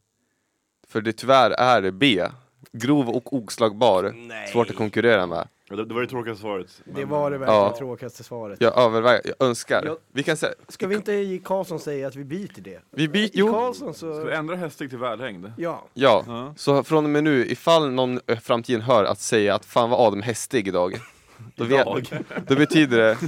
B: För det tyvärr är det B. Grov och oslagbar. Svårt att konkurrera med.
D: Ja, Det, det var det tråkigaste svaret.
E: Det
D: men-
E: var det verkligen
B: Ja.
E: tråkigaste svaret.
B: Jag överväger, jag önskar.
E: Jag-
B: Vi kan säga,
E: Ska vi inte i Karlsson säga att vi byter det?
B: vi byter,
E: I
B: jo.
E: Karlsson
D: Ska vi
E: så...
D: ändra hästig till välhängd?
E: Ja. [LAUGHS]
B: Ja,
D: Ja.
B: så från och med nu, ifall någon i framtiden hör att säga att fan vad Adam är hästig idag. Då, vet,
D: Idag.
B: då betyder det,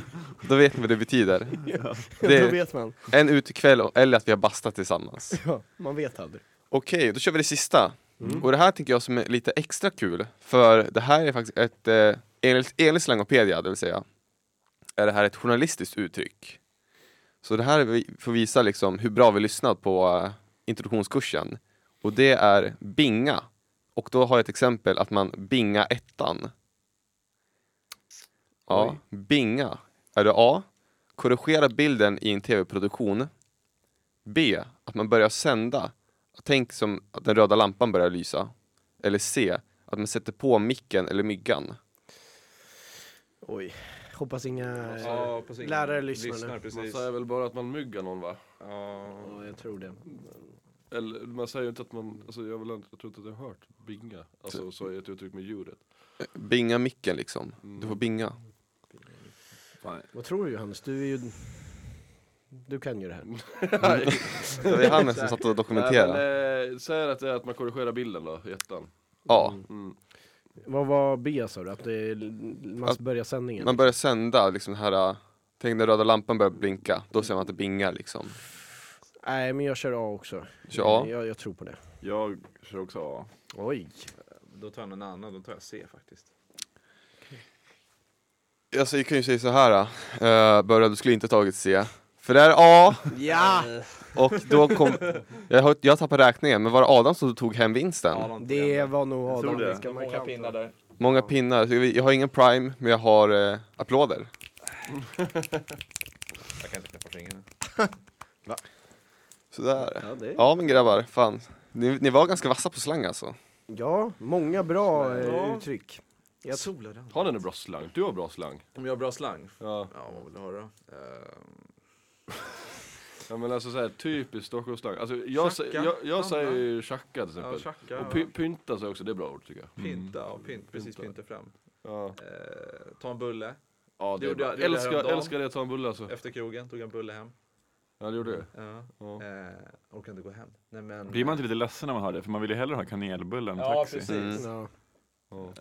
B: då vet ni vad det betyder. Det
E: Då
B: är
E: vet man.
B: en utekväll eller att vi har bastat tillsammans.
E: Ja, man vet aldrig.
B: Okej, då kör vi det sista. Och det här tänker jag som är lite extra kul, för det här är faktiskt ett, eh, enligt, enligt Slangopedia, det vill säga, är det här ett journalistiskt uttryck. Så det här är vi- får visa liksom hur bra vi lyssnat på eh, introduktionskursen. Och det är binga. Och då har jag ett exempel att man binga ettan. Ja. Binga. Är det A. Korrigera bilden i en tv-produktion. B. Att man börjar sända. Tänk som att den röda lampan börjar lysa. Eller C. Att man sätter på micken eller myggan.
E: Oj, hoppas inga
F: Ja, på sin-
E: lärare lyssnar nu.
C: Man
F: precis.
C: säger väl bara att man myggar någon va?
F: Ja.
E: Ja, jag tror det.
C: Eller man säger ju inte att man, alltså jag, vill, inte- jag tror inte att jag har hört binga. Alltså så är ett uttryck med djuret.
B: Binga micken liksom. Du får binga.
D: Fan,
E: Vad tror du Johannes? Du är ju... Du kan ju det här.
B: Det var Johannes som satt och dokumenterade.
C: Nej, men, eh, säger att det är att man korrigerar bilden då, i ettan.
B: A.
C: Mm.
E: Vad var B sa du? Att det är, man
B: Att-
E: börjar sändningen?
B: Man börjar sända liksom den här, äh, tänk när röda lampan börjar blinka. Då ser man att det bingar liksom.
E: Nej, men jag kör A också.
B: Kör A.
E: Jag, jag tror på det.
D: Jag kör också A.
E: Oj.
F: Då tar jag någon annan, då tar jag C faktiskt.
B: Alltså, jag kan ju säga så här. Uh, Börje, du skulle inte tagit C. För det är A.
E: Ja!
B: Och då kom, jag, har- jag tappade räkningen, men var det Adam som tog hem vinsten?
F: Adam tog
E: Det
F: hem
E: var nog
D: tror
E: Adam.
D: det.
E: Det ska man
F: Många
E: kan
F: pinnar
E: ta.
F: där.
B: Många pinnar, så vi- jag har ingen prime, men jag har eh, applåder.
F: Jag kan inte knäppa fingrarna.
B: Sådär.
E: Ja, det...
B: Ja men grabbar, fan. Ni, ni var ganska vassa på slang alltså.
E: ja, många bra eh,
F: Ja.
E: uttryck. Jag
F: solar den.
C: Har ni någon bra slang? Du har bra slang.
F: Om jag har bra slang?
C: Ja.
F: Ja, vad vill du höra? Ehm,
C: ja men alltså såhär typiskt Stockholmsslang. Alltså jag, sä-
F: Tjacka.
C: jag, jag
F: Anna.
C: säger ju tjacka till
F: Ja,
C: exempel.
F: tjacka.
C: och
F: ja.
C: py, pynta säger jag också, det är bra ord tycker jag.
F: Pinta, ja, pint, precis pinta fram.
C: Ja,
F: Eh, ta en bulle.
C: ja det,
F: Det
C: är
F: gjorde
C: bra.
F: jag- det gjorde jag
C: älskar,
F: häromdagen.
C: älskar det att ta en bulle alltså.
F: Efter krogen tog jag en bulle hem.
C: Ja det gjorde det.
F: Ja.
C: Ja.
F: Eh, orkar inte gå hem. Nej, men,
D: Blir man inte lite ledsen när man hör det? För man vill ju hellre ha kanelbullen än
F: Ja,
D: taxi.
B: Mm.
F: precis.
E: Ja.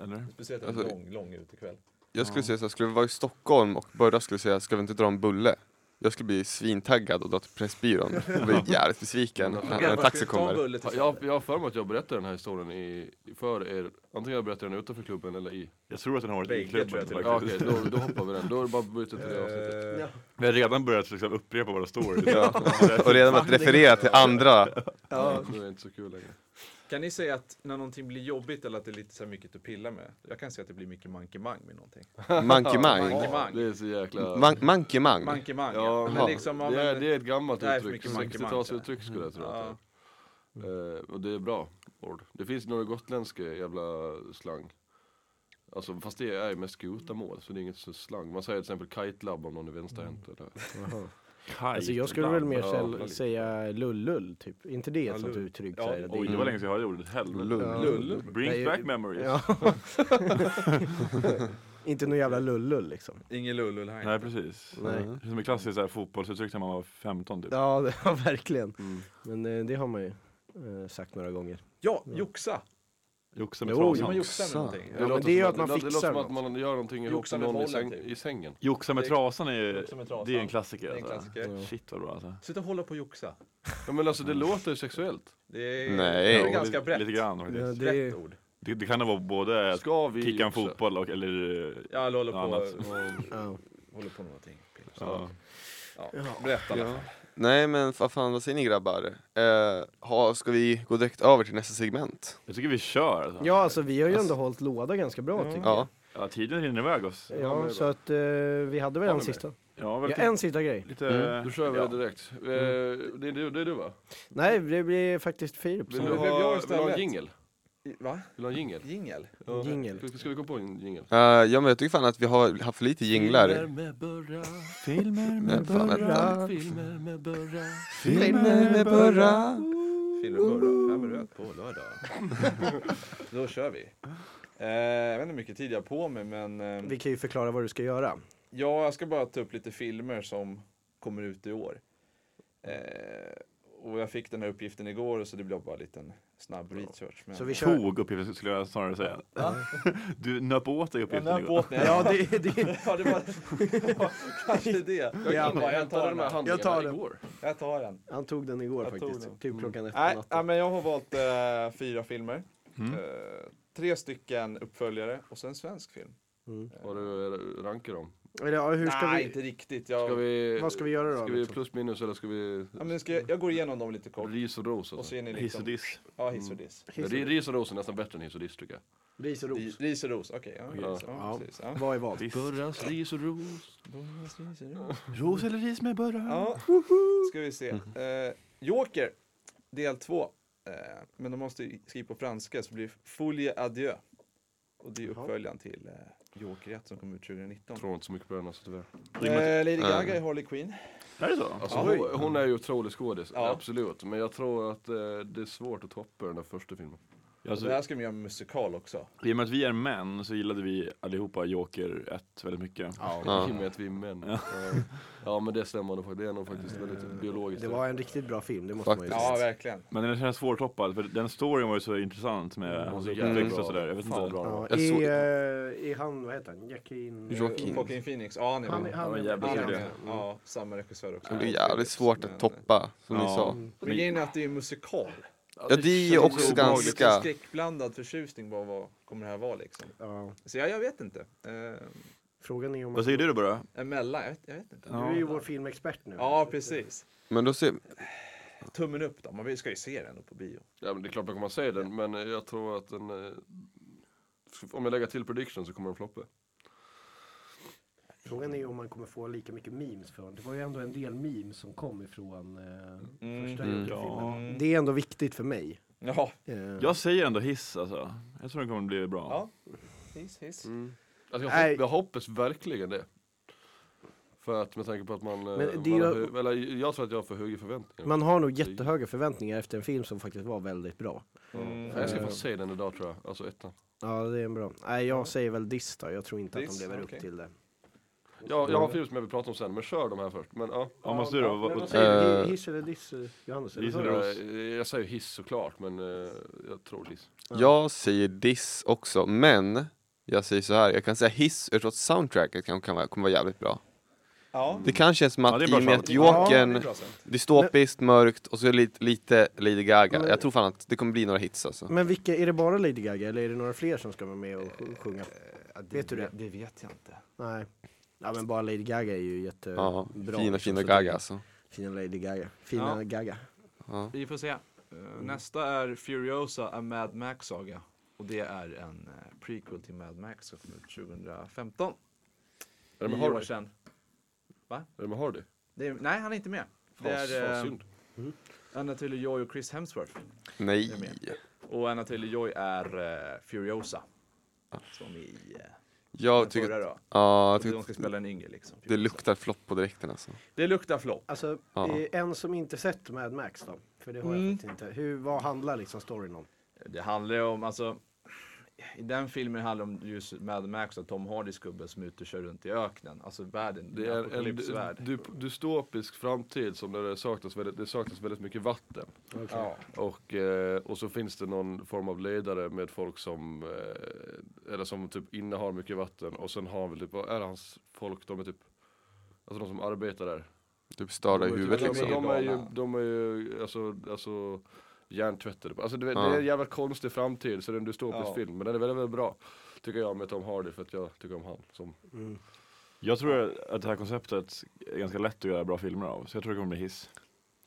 D: Eller?
F: Speciellt en
B: Alltså-
F: lång, lång utekväll.
B: Jag skulle säga såhär, skulle vi vara i Stockholm och Börje skulle säga, ska vi inte dra en bulle? Jag skulle bli svintaggad och dra till Pressbyrån och bli jävligt besviken när när en taxi
F: Ta en
B: kommer.
F: bulle till
C: Ja, Jag, jag har för mig att jag berättar den här historien i, i- för er, antingen jag berättar den utanför klubben eller i.
D: Jag tror att den har varit
F: Bägge
D: i klubben
F: tror jag till och
C: Ja,
D: faktiskt.
C: okej, då, då hoppar vi den. Då är det bara att byta till det avsnittet.
F: Eh,
D: Vi har redan börjat liksom upprepa våra stories. [LAUGHS]
F: Alltså,
B: Och redan med att referera till andra.
C: Ja. Nu är det inte så kul längre.
F: Eh, Kan ni säga att när någonting blir jobbigt eller att det är lite så här mycket att pilla med? Jag kan säga att det blir mycket mankemang med någonting.
B: Mankemang.
F: Mankemang.
C: Det är så jäkla...
B: Man, mankemang.
F: Mankemang,
C: Ja,
F: ja.
B: jaha.
F: Men liksom, ja,
C: det, är,
F: men,
C: det är ett gammalt
F: Det här är för
C: uttryck,
F: mycket mankemang,
C: 60-talsuttryck skulle jag tro att det är.
F: ja. Mm.
C: Eh, och det är bra ord. Det finns några gotländska jävla slang. Alltså fast det är mest skutamål så det är inget så slang. Man säger till exempel kite-lab om någon är
F: Mm.
C: vänsterhänt eller
E: Jaha.
D: Kite,
E: Alltså jag skulle väl mer
C: Ja,
E: säl-
C: lite.
E: säga lullull typ. inte det ett sånt
F: lull.
E: uttryck?
F: Ja,
E: så här, det-
D: Oj, det var länge sedan jag hörde ordet helvete.
E: Ja.
F: Lull.
D: Brings
E: Nej,
D: back memories.
E: Ja. [LAUGHS] inte någon jävla lullull liksom.
F: ingen lullull här.
D: Nej, precis.
E: Nej.
D: Det är som ett klassiskt så här, fotbollsuttryck när man var 15 typ.
E: Ja, det, ja verkligen. Men eh, det har man ju eh, sagt några gånger.
F: Ja, joxa!
D: Joxa med
E: Jo,
F: Gör man
D: trasan.
F: joxa med
B: Joxa.
F: någonting?
E: men
C: låter
E: det är ju
C: som
E: att man
C: det, låter- Det låter
E: fixar
C: som att man gör någonting ihop
F: Joxa
C: med
F: med
C: någon i,
F: bollen,
C: säng,
F: typ.
C: i sängen.
D: Joxa med
F: Det-
D: trasan är ju
F: Joxa med trasan.
D: det är en klassiker.
F: Det är en
D: alltså.
F: klassiker.
D: Shit vad bra alltså.
F: Sluta hålla på och joxa.
C: Ja men alltså det
F: Mm.
C: låter ju sexuellt.
F: Det är,
B: Nej.
F: det
D: Ja,
F: är ganska
D: lite-
F: brett.
D: Lite grann faktiskt.
E: Ja,
F: Brett
E: det,
F: ord.
D: Det, det kan vara både att
C: Ska vi
D: kicka en
C: joxa?
D: fotboll och, eller... eh,
F: Ja, eller håller på,
D: Ja, annat.
E: ja.
F: håller på med någonting. Piller.
D: Ja.
F: Ja. Berätta i alla fall.
B: Nej men vad fan, vad säger ni grabbar? Eh, ha, ska vi gå direkt över till nästa segment?
D: Jag tycker vi kör alltså.
E: ja, alltså vi har ju ändå hållit låda ganska bra tycker
B: Ja.
D: Ja, tiden rinner iväg oss.
E: jag. Ja, så att eh, vi hade väl en sista.
D: Ja,
E: Ja,
D: verkligen.
E: en sista grej.
D: Lite...
B: Mm.
C: Då kör vi
D: ja.
C: det direkt. Eh, det, är du, det är du va?
E: Nej, det blir faktiskt Filip
C: Vill
E: som
C: du
F: Mm. det blev
C: ha,
F: jag
C: vill du ha
F: istället.
C: en jingel?
F: Va?
C: Vill du ha en jingel?
F: Jingel?
C: Ja.
E: Jingel.
C: Ska vi gå på en jingel?
B: Eh, ja men jag tycker fan att vi har haft för lite jinglar.
C: med burra,
D: Filmer
B: Men fan, vänta.
C: filmer med burra.
B: Filmer med Burra.
F: Filmer och burra, fem röd på lördag. Då kör vi. Eh, jag vet inte hur mycket tid jag har på mig men eh,
E: Vi kan ju förklara vad du ska göra.
F: ja, jag ska bara ta upp lite filmer som kommer ut i år. Eh, och jag fick den här uppgiften igår så det blev bara en liten snabb research. Men...
E: Så vi kör.
D: Tog uppgiften skulle jag snarare säga. [LAUGHS] Du nöp åt dig
F: jag
D: uppgiften
F: nöp åt mig.
E: Ja, det, det,
F: Ja, det var [LAUGHS] ja, kanske det. Jag,
E: Ja.
F: bara, jag tar den. här.
E: jag tar den.
C: igår.
F: Jag tar den.
E: Han tog den igår
F: Jag tog
E: faktiskt,
F: den.
E: typ klockan ett på
F: Nej, ja,
E: natten.
F: men jag har valt eh, fyra filmer.
D: Mm.
F: Eh, tre stycken uppföljare och sen svensk film.
E: Mm.
C: Har du rankat dem?
E: Eller ja, hur ska
F: Nej,
E: vi...
F: inte riktigt. Jag,
C: Ska vi,
E: Vad ska vi göra då?
C: ska vi
E: liksom?
C: plus minus eller ska vi
F: ja, men ska jag, jag går igenom dem lite kort.
C: ris och ros?
F: Och
C: Alltså.
F: så är
D: [LAUGHS]
F: ni
D: Hiss och
F: liksom...
D: diss.
F: Ja, hiss och diss.
C: Ja, ri- Ris och ros är nästan bättre än hiss och diss tycker jag.
E: Ris och ros.
F: Ris- Ris och ros, okej. ja,
C: Ja.
F: ris, ja,
E: Ja.
F: precis, ja.
E: Vad är vad?
D: Diss.
C: Burras, ris och ros.
F: Ros, ris och ros.
D: Ros eller ris med burra?
F: Ja, ska vi se.
B: Mm.
F: Eh, Joker, del två. Eh, men de måste ju skriva på franska så det blir Folie Adieu. Och det är ju
E: Jaha.
F: uppföljaren till eh, Joker 1 som kom ut 2019.
C: Tror inte så mycket på den alltså tyvärr.
F: Eh, Lady Gaga är Harley Quinn.
D: Är det så?
C: Alltså,
F: Ja.
C: hon, hon är ju otrolig skådis,
F: Ja.
C: absolut. Men jag tror att eh, det är svårt att toppa den där första filmen.
D: Alltså,
F: det här ska vi göra med musikal också.
D: I och med att vi är män så gillade vi allihopa Joker 1 väldigt mycket.
C: Ja. [LAUGHS] I och med att vi är män. Ja. ja men det stämmer nog faktiskt. Det är nog faktiskt väldigt biologiskt.
E: Det var en riktigt bra film, det måste man ju
B: Faktiskt.
F: Ja,
E: säga.
F: verkligen.
D: Men den känns svårtoppad för den storyn var ju så intressant med hans uppväxt och sådär. Jag vet inte.
C: Fan, bra.
E: Ja,
B: Jag
E: i,
B: såg-
E: eh, I han, vad heter han? Jackin...
B: Joaquin.
F: Joaquin Phoenix, ja han är
E: Han,
F: med.
E: han,
D: var
E: är-
D: jävligt
E: han är
F: Han är
D: trevlig.
E: med.
F: med. Ja, samma regissör också.
B: Det blir jävligt svårt
F: Men-
B: att toppa, som ni
D: Ja.
B: sa.
E: Mm,
F: Men Grejen är att det är en musikal.
C: Alltså,
B: Ja, det är ju också
F: Det är lite
B: ganska...
F: skräckblandad förtjusning bara vad kommer det här vara liksom.
E: Ja.
F: Så jag, jag vet inte. Eh,
E: Frågan är om...
D: Vad säger du då Burra?
F: emellan, jag vet, jag vet inte.
E: Du är ju vår filmexpert nu.
F: Ja, precis.
B: Men då ser...
F: Tummen upp då, man ska ju se den då på bio.
C: Ja men det är klart man kommer att se den, men eh, jag tror att den... eh, Om jag lägger till prediction så kommer den floppa. Alltså,
E: Frågan är om man kommer få lika mycket memes från. Det var ju ändå en del memes som kom ifrån eh, första
B: Mm.
E: Joker-filmen.
D: Ja.
E: Det är ändå viktigt för mig.
F: Ja,
E: Eh,
D: Jag säger ändå hiss alltså. Jag tror den kommer bli bra.
F: Ja. hiss, hiss.
C: Alltså jag,
E: Nej.
C: hopp, jag hoppas verkligen det. För att med tanke på att man... eh,
E: Men det
C: man
E: är
C: har
E: ju-
C: hö- eller, jag tror att jag har för höga förväntningar.
E: Man har nog jättehöga förväntningar efter en film som faktiskt var väldigt bra.
B: Mm.
C: Ja, Mm. Jag ska fan se den idag tror jag, alltså ettan.
E: Ja, det är en bra. Nej, jag säger väl diss då. Jag tror inte att
F: Diss,
E: de lever
F: okej.
E: upp till det.
C: Ja, jag har en film som jag vill prata om sen, men kör de här först. Men ja,
D: Ja, måste du då?
E: Men
D: Vad-
E: vad säger du?
B: Eh,
E: Hiss eller diss, eh, Johannes? Eller
D: Diss
E: vad?
D: eller-
C: eh, jag säger hiss såklart, men eh, jag tror hiss.
B: Jag säger diss också, men jag säger så här, jag kan säga hiss jag tror att soundtracket kan, kan vara, kommer vara jävligt bra.
F: Ja.
B: Det kan kännas som
D: Ja,
B: att
D: det är
B: i
D: bra
B: och med att
D: soundtrack.
B: Jokern,
F: Ja, det är bra sånt.
B: dystopiskt, mörkt och så lite, lite Lady Gaga.
E: Men-
B: jag tror fan att det kommer bli några hits alltså.
E: Men vilka, är det bara Lady Gaga eller är det några fler som ska vara med och sj- sjunga? Vet du Eh, det?
F: Det vet jag inte.
E: Nej. Ja men bara Lady Gaga är ju jättebra.
B: Ja, fina
E: liksom,
B: fina
E: så det-
B: Gaga alltså.
E: Fina Lady Gaga. Fina
F: Ja.
E: Gaga.
B: Ja.
F: Vi får se. Eh, Nästa är Furiosa, A Mad Max Saga. Och det är en eh, prequel till Mad Max som kom ut 2015.
C: Är det med
F: Nio år
C: Hardy?
F: sedan.
C: Är det med Hardy?
F: Det är, nej, han är inte med. Det
C: Fan,
F: är
C: fan,
F: eh,
C: synd.
F: Anna Taylor-Joy och Chris Hemsworth.
B: Nej.
F: Och Anna Taylor-Joy är eh, Furiosa. Som i eh, den
B: Jag tycker,
F: förra
B: att-
F: då.
B: ja, jag
F: Jag
B: tycker
F: de
B: att
F: ska spela en yngre liksom.
B: det luktar flopp på direkten alltså.
F: Det luktar flopp.
E: Alltså
B: Ja.
E: eh, en som inte sett Mad Max då? För det har
F: Mm.
E: jag faktiskt inte. Hur, vad handlar liksom storyn om?
F: Det handlar ju om, alltså. I den filmen handlar det om just Mad Max och Tom Hardys gubbe som är ute och kör runt i öknen. Alltså världen,
C: Det är en
F: apokalypsvärld.
C: dy- dy- dystopisk framtid som där det saknas väldigt, det saknas väldigt mycket vatten.
F: Ja.
C: Och, eh, och så finns det någon form av ledare med folk som, eh, eller som typ innehar mycket vatten och sen har han väl typ, vad är hans folk, de är typ, alltså de som arbetar där.
B: Typ störda i
C: de, är
B: huvudet
C: typ-
B: liksom.
C: de, de är ju,
F: Galna.
C: de är ju, alltså, alltså hjärntvättade. Alltså det, det
B: Ja.
C: är en jävla konstig framtid, så det är en dystopisk
F: Ja.
C: film. Men den är väldigt, väldigt bra. Tycker jag med Tom Hardy, för att jag tycker om han. Som,
E: Mm.
D: Jag tror att det här konceptet är ganska lätt att göra bra filmer av. Så jag tror det kommer bli hiss.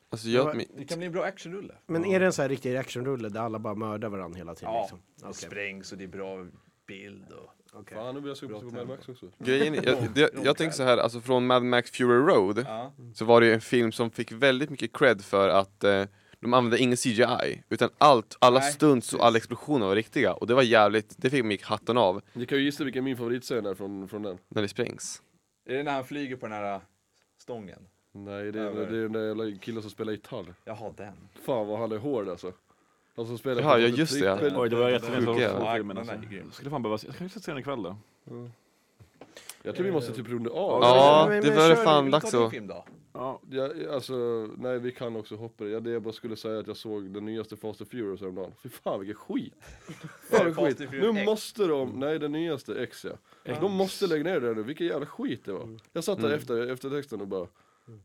B: Alltså jag,
E: Det
B: min-
F: Det kan bli en bra actionrulle.
E: Men är det en sån här riktig actionrulle där alla bara mördar varandra hela tiden?
F: Ja.
E: Liksom?
F: Det
E: Okej.
F: sprängs och det är bra bild och...
E: Okej.
C: fan, nu blir jag sugen på att se på
F: Bra
C: Mad Max också.
B: grejen, är- jag, jag, jag tänker så här, alltså från Mad Max Fury Road
F: Ja.
B: så var det ju en film som fick väldigt mycket cred för att eh, de använde ingen CGI, utan allt, alla
F: Nej,
B: stunts
F: precis.
B: och alla explosioner var riktiga. Och det var jävligt, det fick mig hatten av,
C: Ni kan ju gissa vilken min favoritscen är från, från den.
B: när det sprängs.
F: Är det när han flyger på den här äh, stången?
C: Nej, det
F: Ja,
C: är,
F: vad är
C: det
F: det?
C: är den där jävla killen som spelar gitarr.
F: Jaha, den.
C: Fan vad han är hård alltså. Han som spelar
B: Jaha,
C: på
B: ja,
C: typ
B: just det, ja.
C: trippel.
D: Oj, det var jättemycket
B: Sjuka
D: som
B: jävlar.
D: var filmen
F: Ja, den
D: alltså.
F: är grym.
D: Skulle fan behöva se. Jag kanske ska se den ikväll då.
C: Jag tror vi måste typ runda av.
B: Ja,
E: men-
B: det
E: men
B: var det
E: kör,
B: fan
F: Vill du
B: dags
F: ta din
B: att...
F: film då?
D: Ja.
C: Ja, alltså, nej vi kan också hoppa det. Ja, det jag bara skulle säga är att jag såg den nyaste Fast and Furious häromdagen. Fy fan vilken skit! Fan vilken
F: Fast
C: skit!
F: and Furious
C: Nu
F: X.
C: måste de, nej den
B: Mm.
C: nyaste X ja. De måste lägga ner det nu, vilken jävla skit det var. Jag satt där efter, efter texten och bara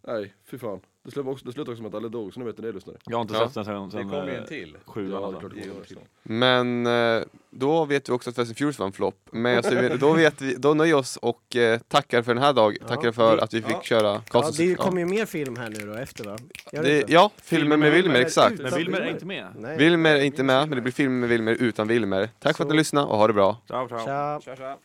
C: Nej, fy fan. Det slutade också, det slutade också med att alla dog, så nu vet ni det lyssnare.
D: Jag har inte
B: Ja.
D: sett den sen,
F: Det
D: sen
F: kommer ju
D: eh,
F: en till.
D: sjuan.
C: Ja, det är
D: alltså.
C: klart.
F: i år snart.
B: Men eh, då vet vi också att Fast and Furious var en flopp. Men alltså, vi- då, vet vi, då nöjer vi oss och eh, tackar för den här dagen.
E: Ja,
B: Tackar för
E: det-
B: att vi fick
F: ja.
B: köra
E: Ja,
B: Karlssons-
E: det kommer ju mer film här nu då efter va?
B: ja,
E: Gör
B: det,
E: inte?
B: ja, filmen med Wilmer,
E: Wilmer,
B: exakt.
D: Men
E: Utan
D: Wilmer är
E: Wilmer.
D: inte med.
E: Nej.
B: Wilmer är inte med, men det blir film med Wilmer utan Wilmer. Tack för att ni
E: Så-
B: lyssnade och ha det bra.
D: Ciao, ciao.
E: Tja.
F: Tja, tja.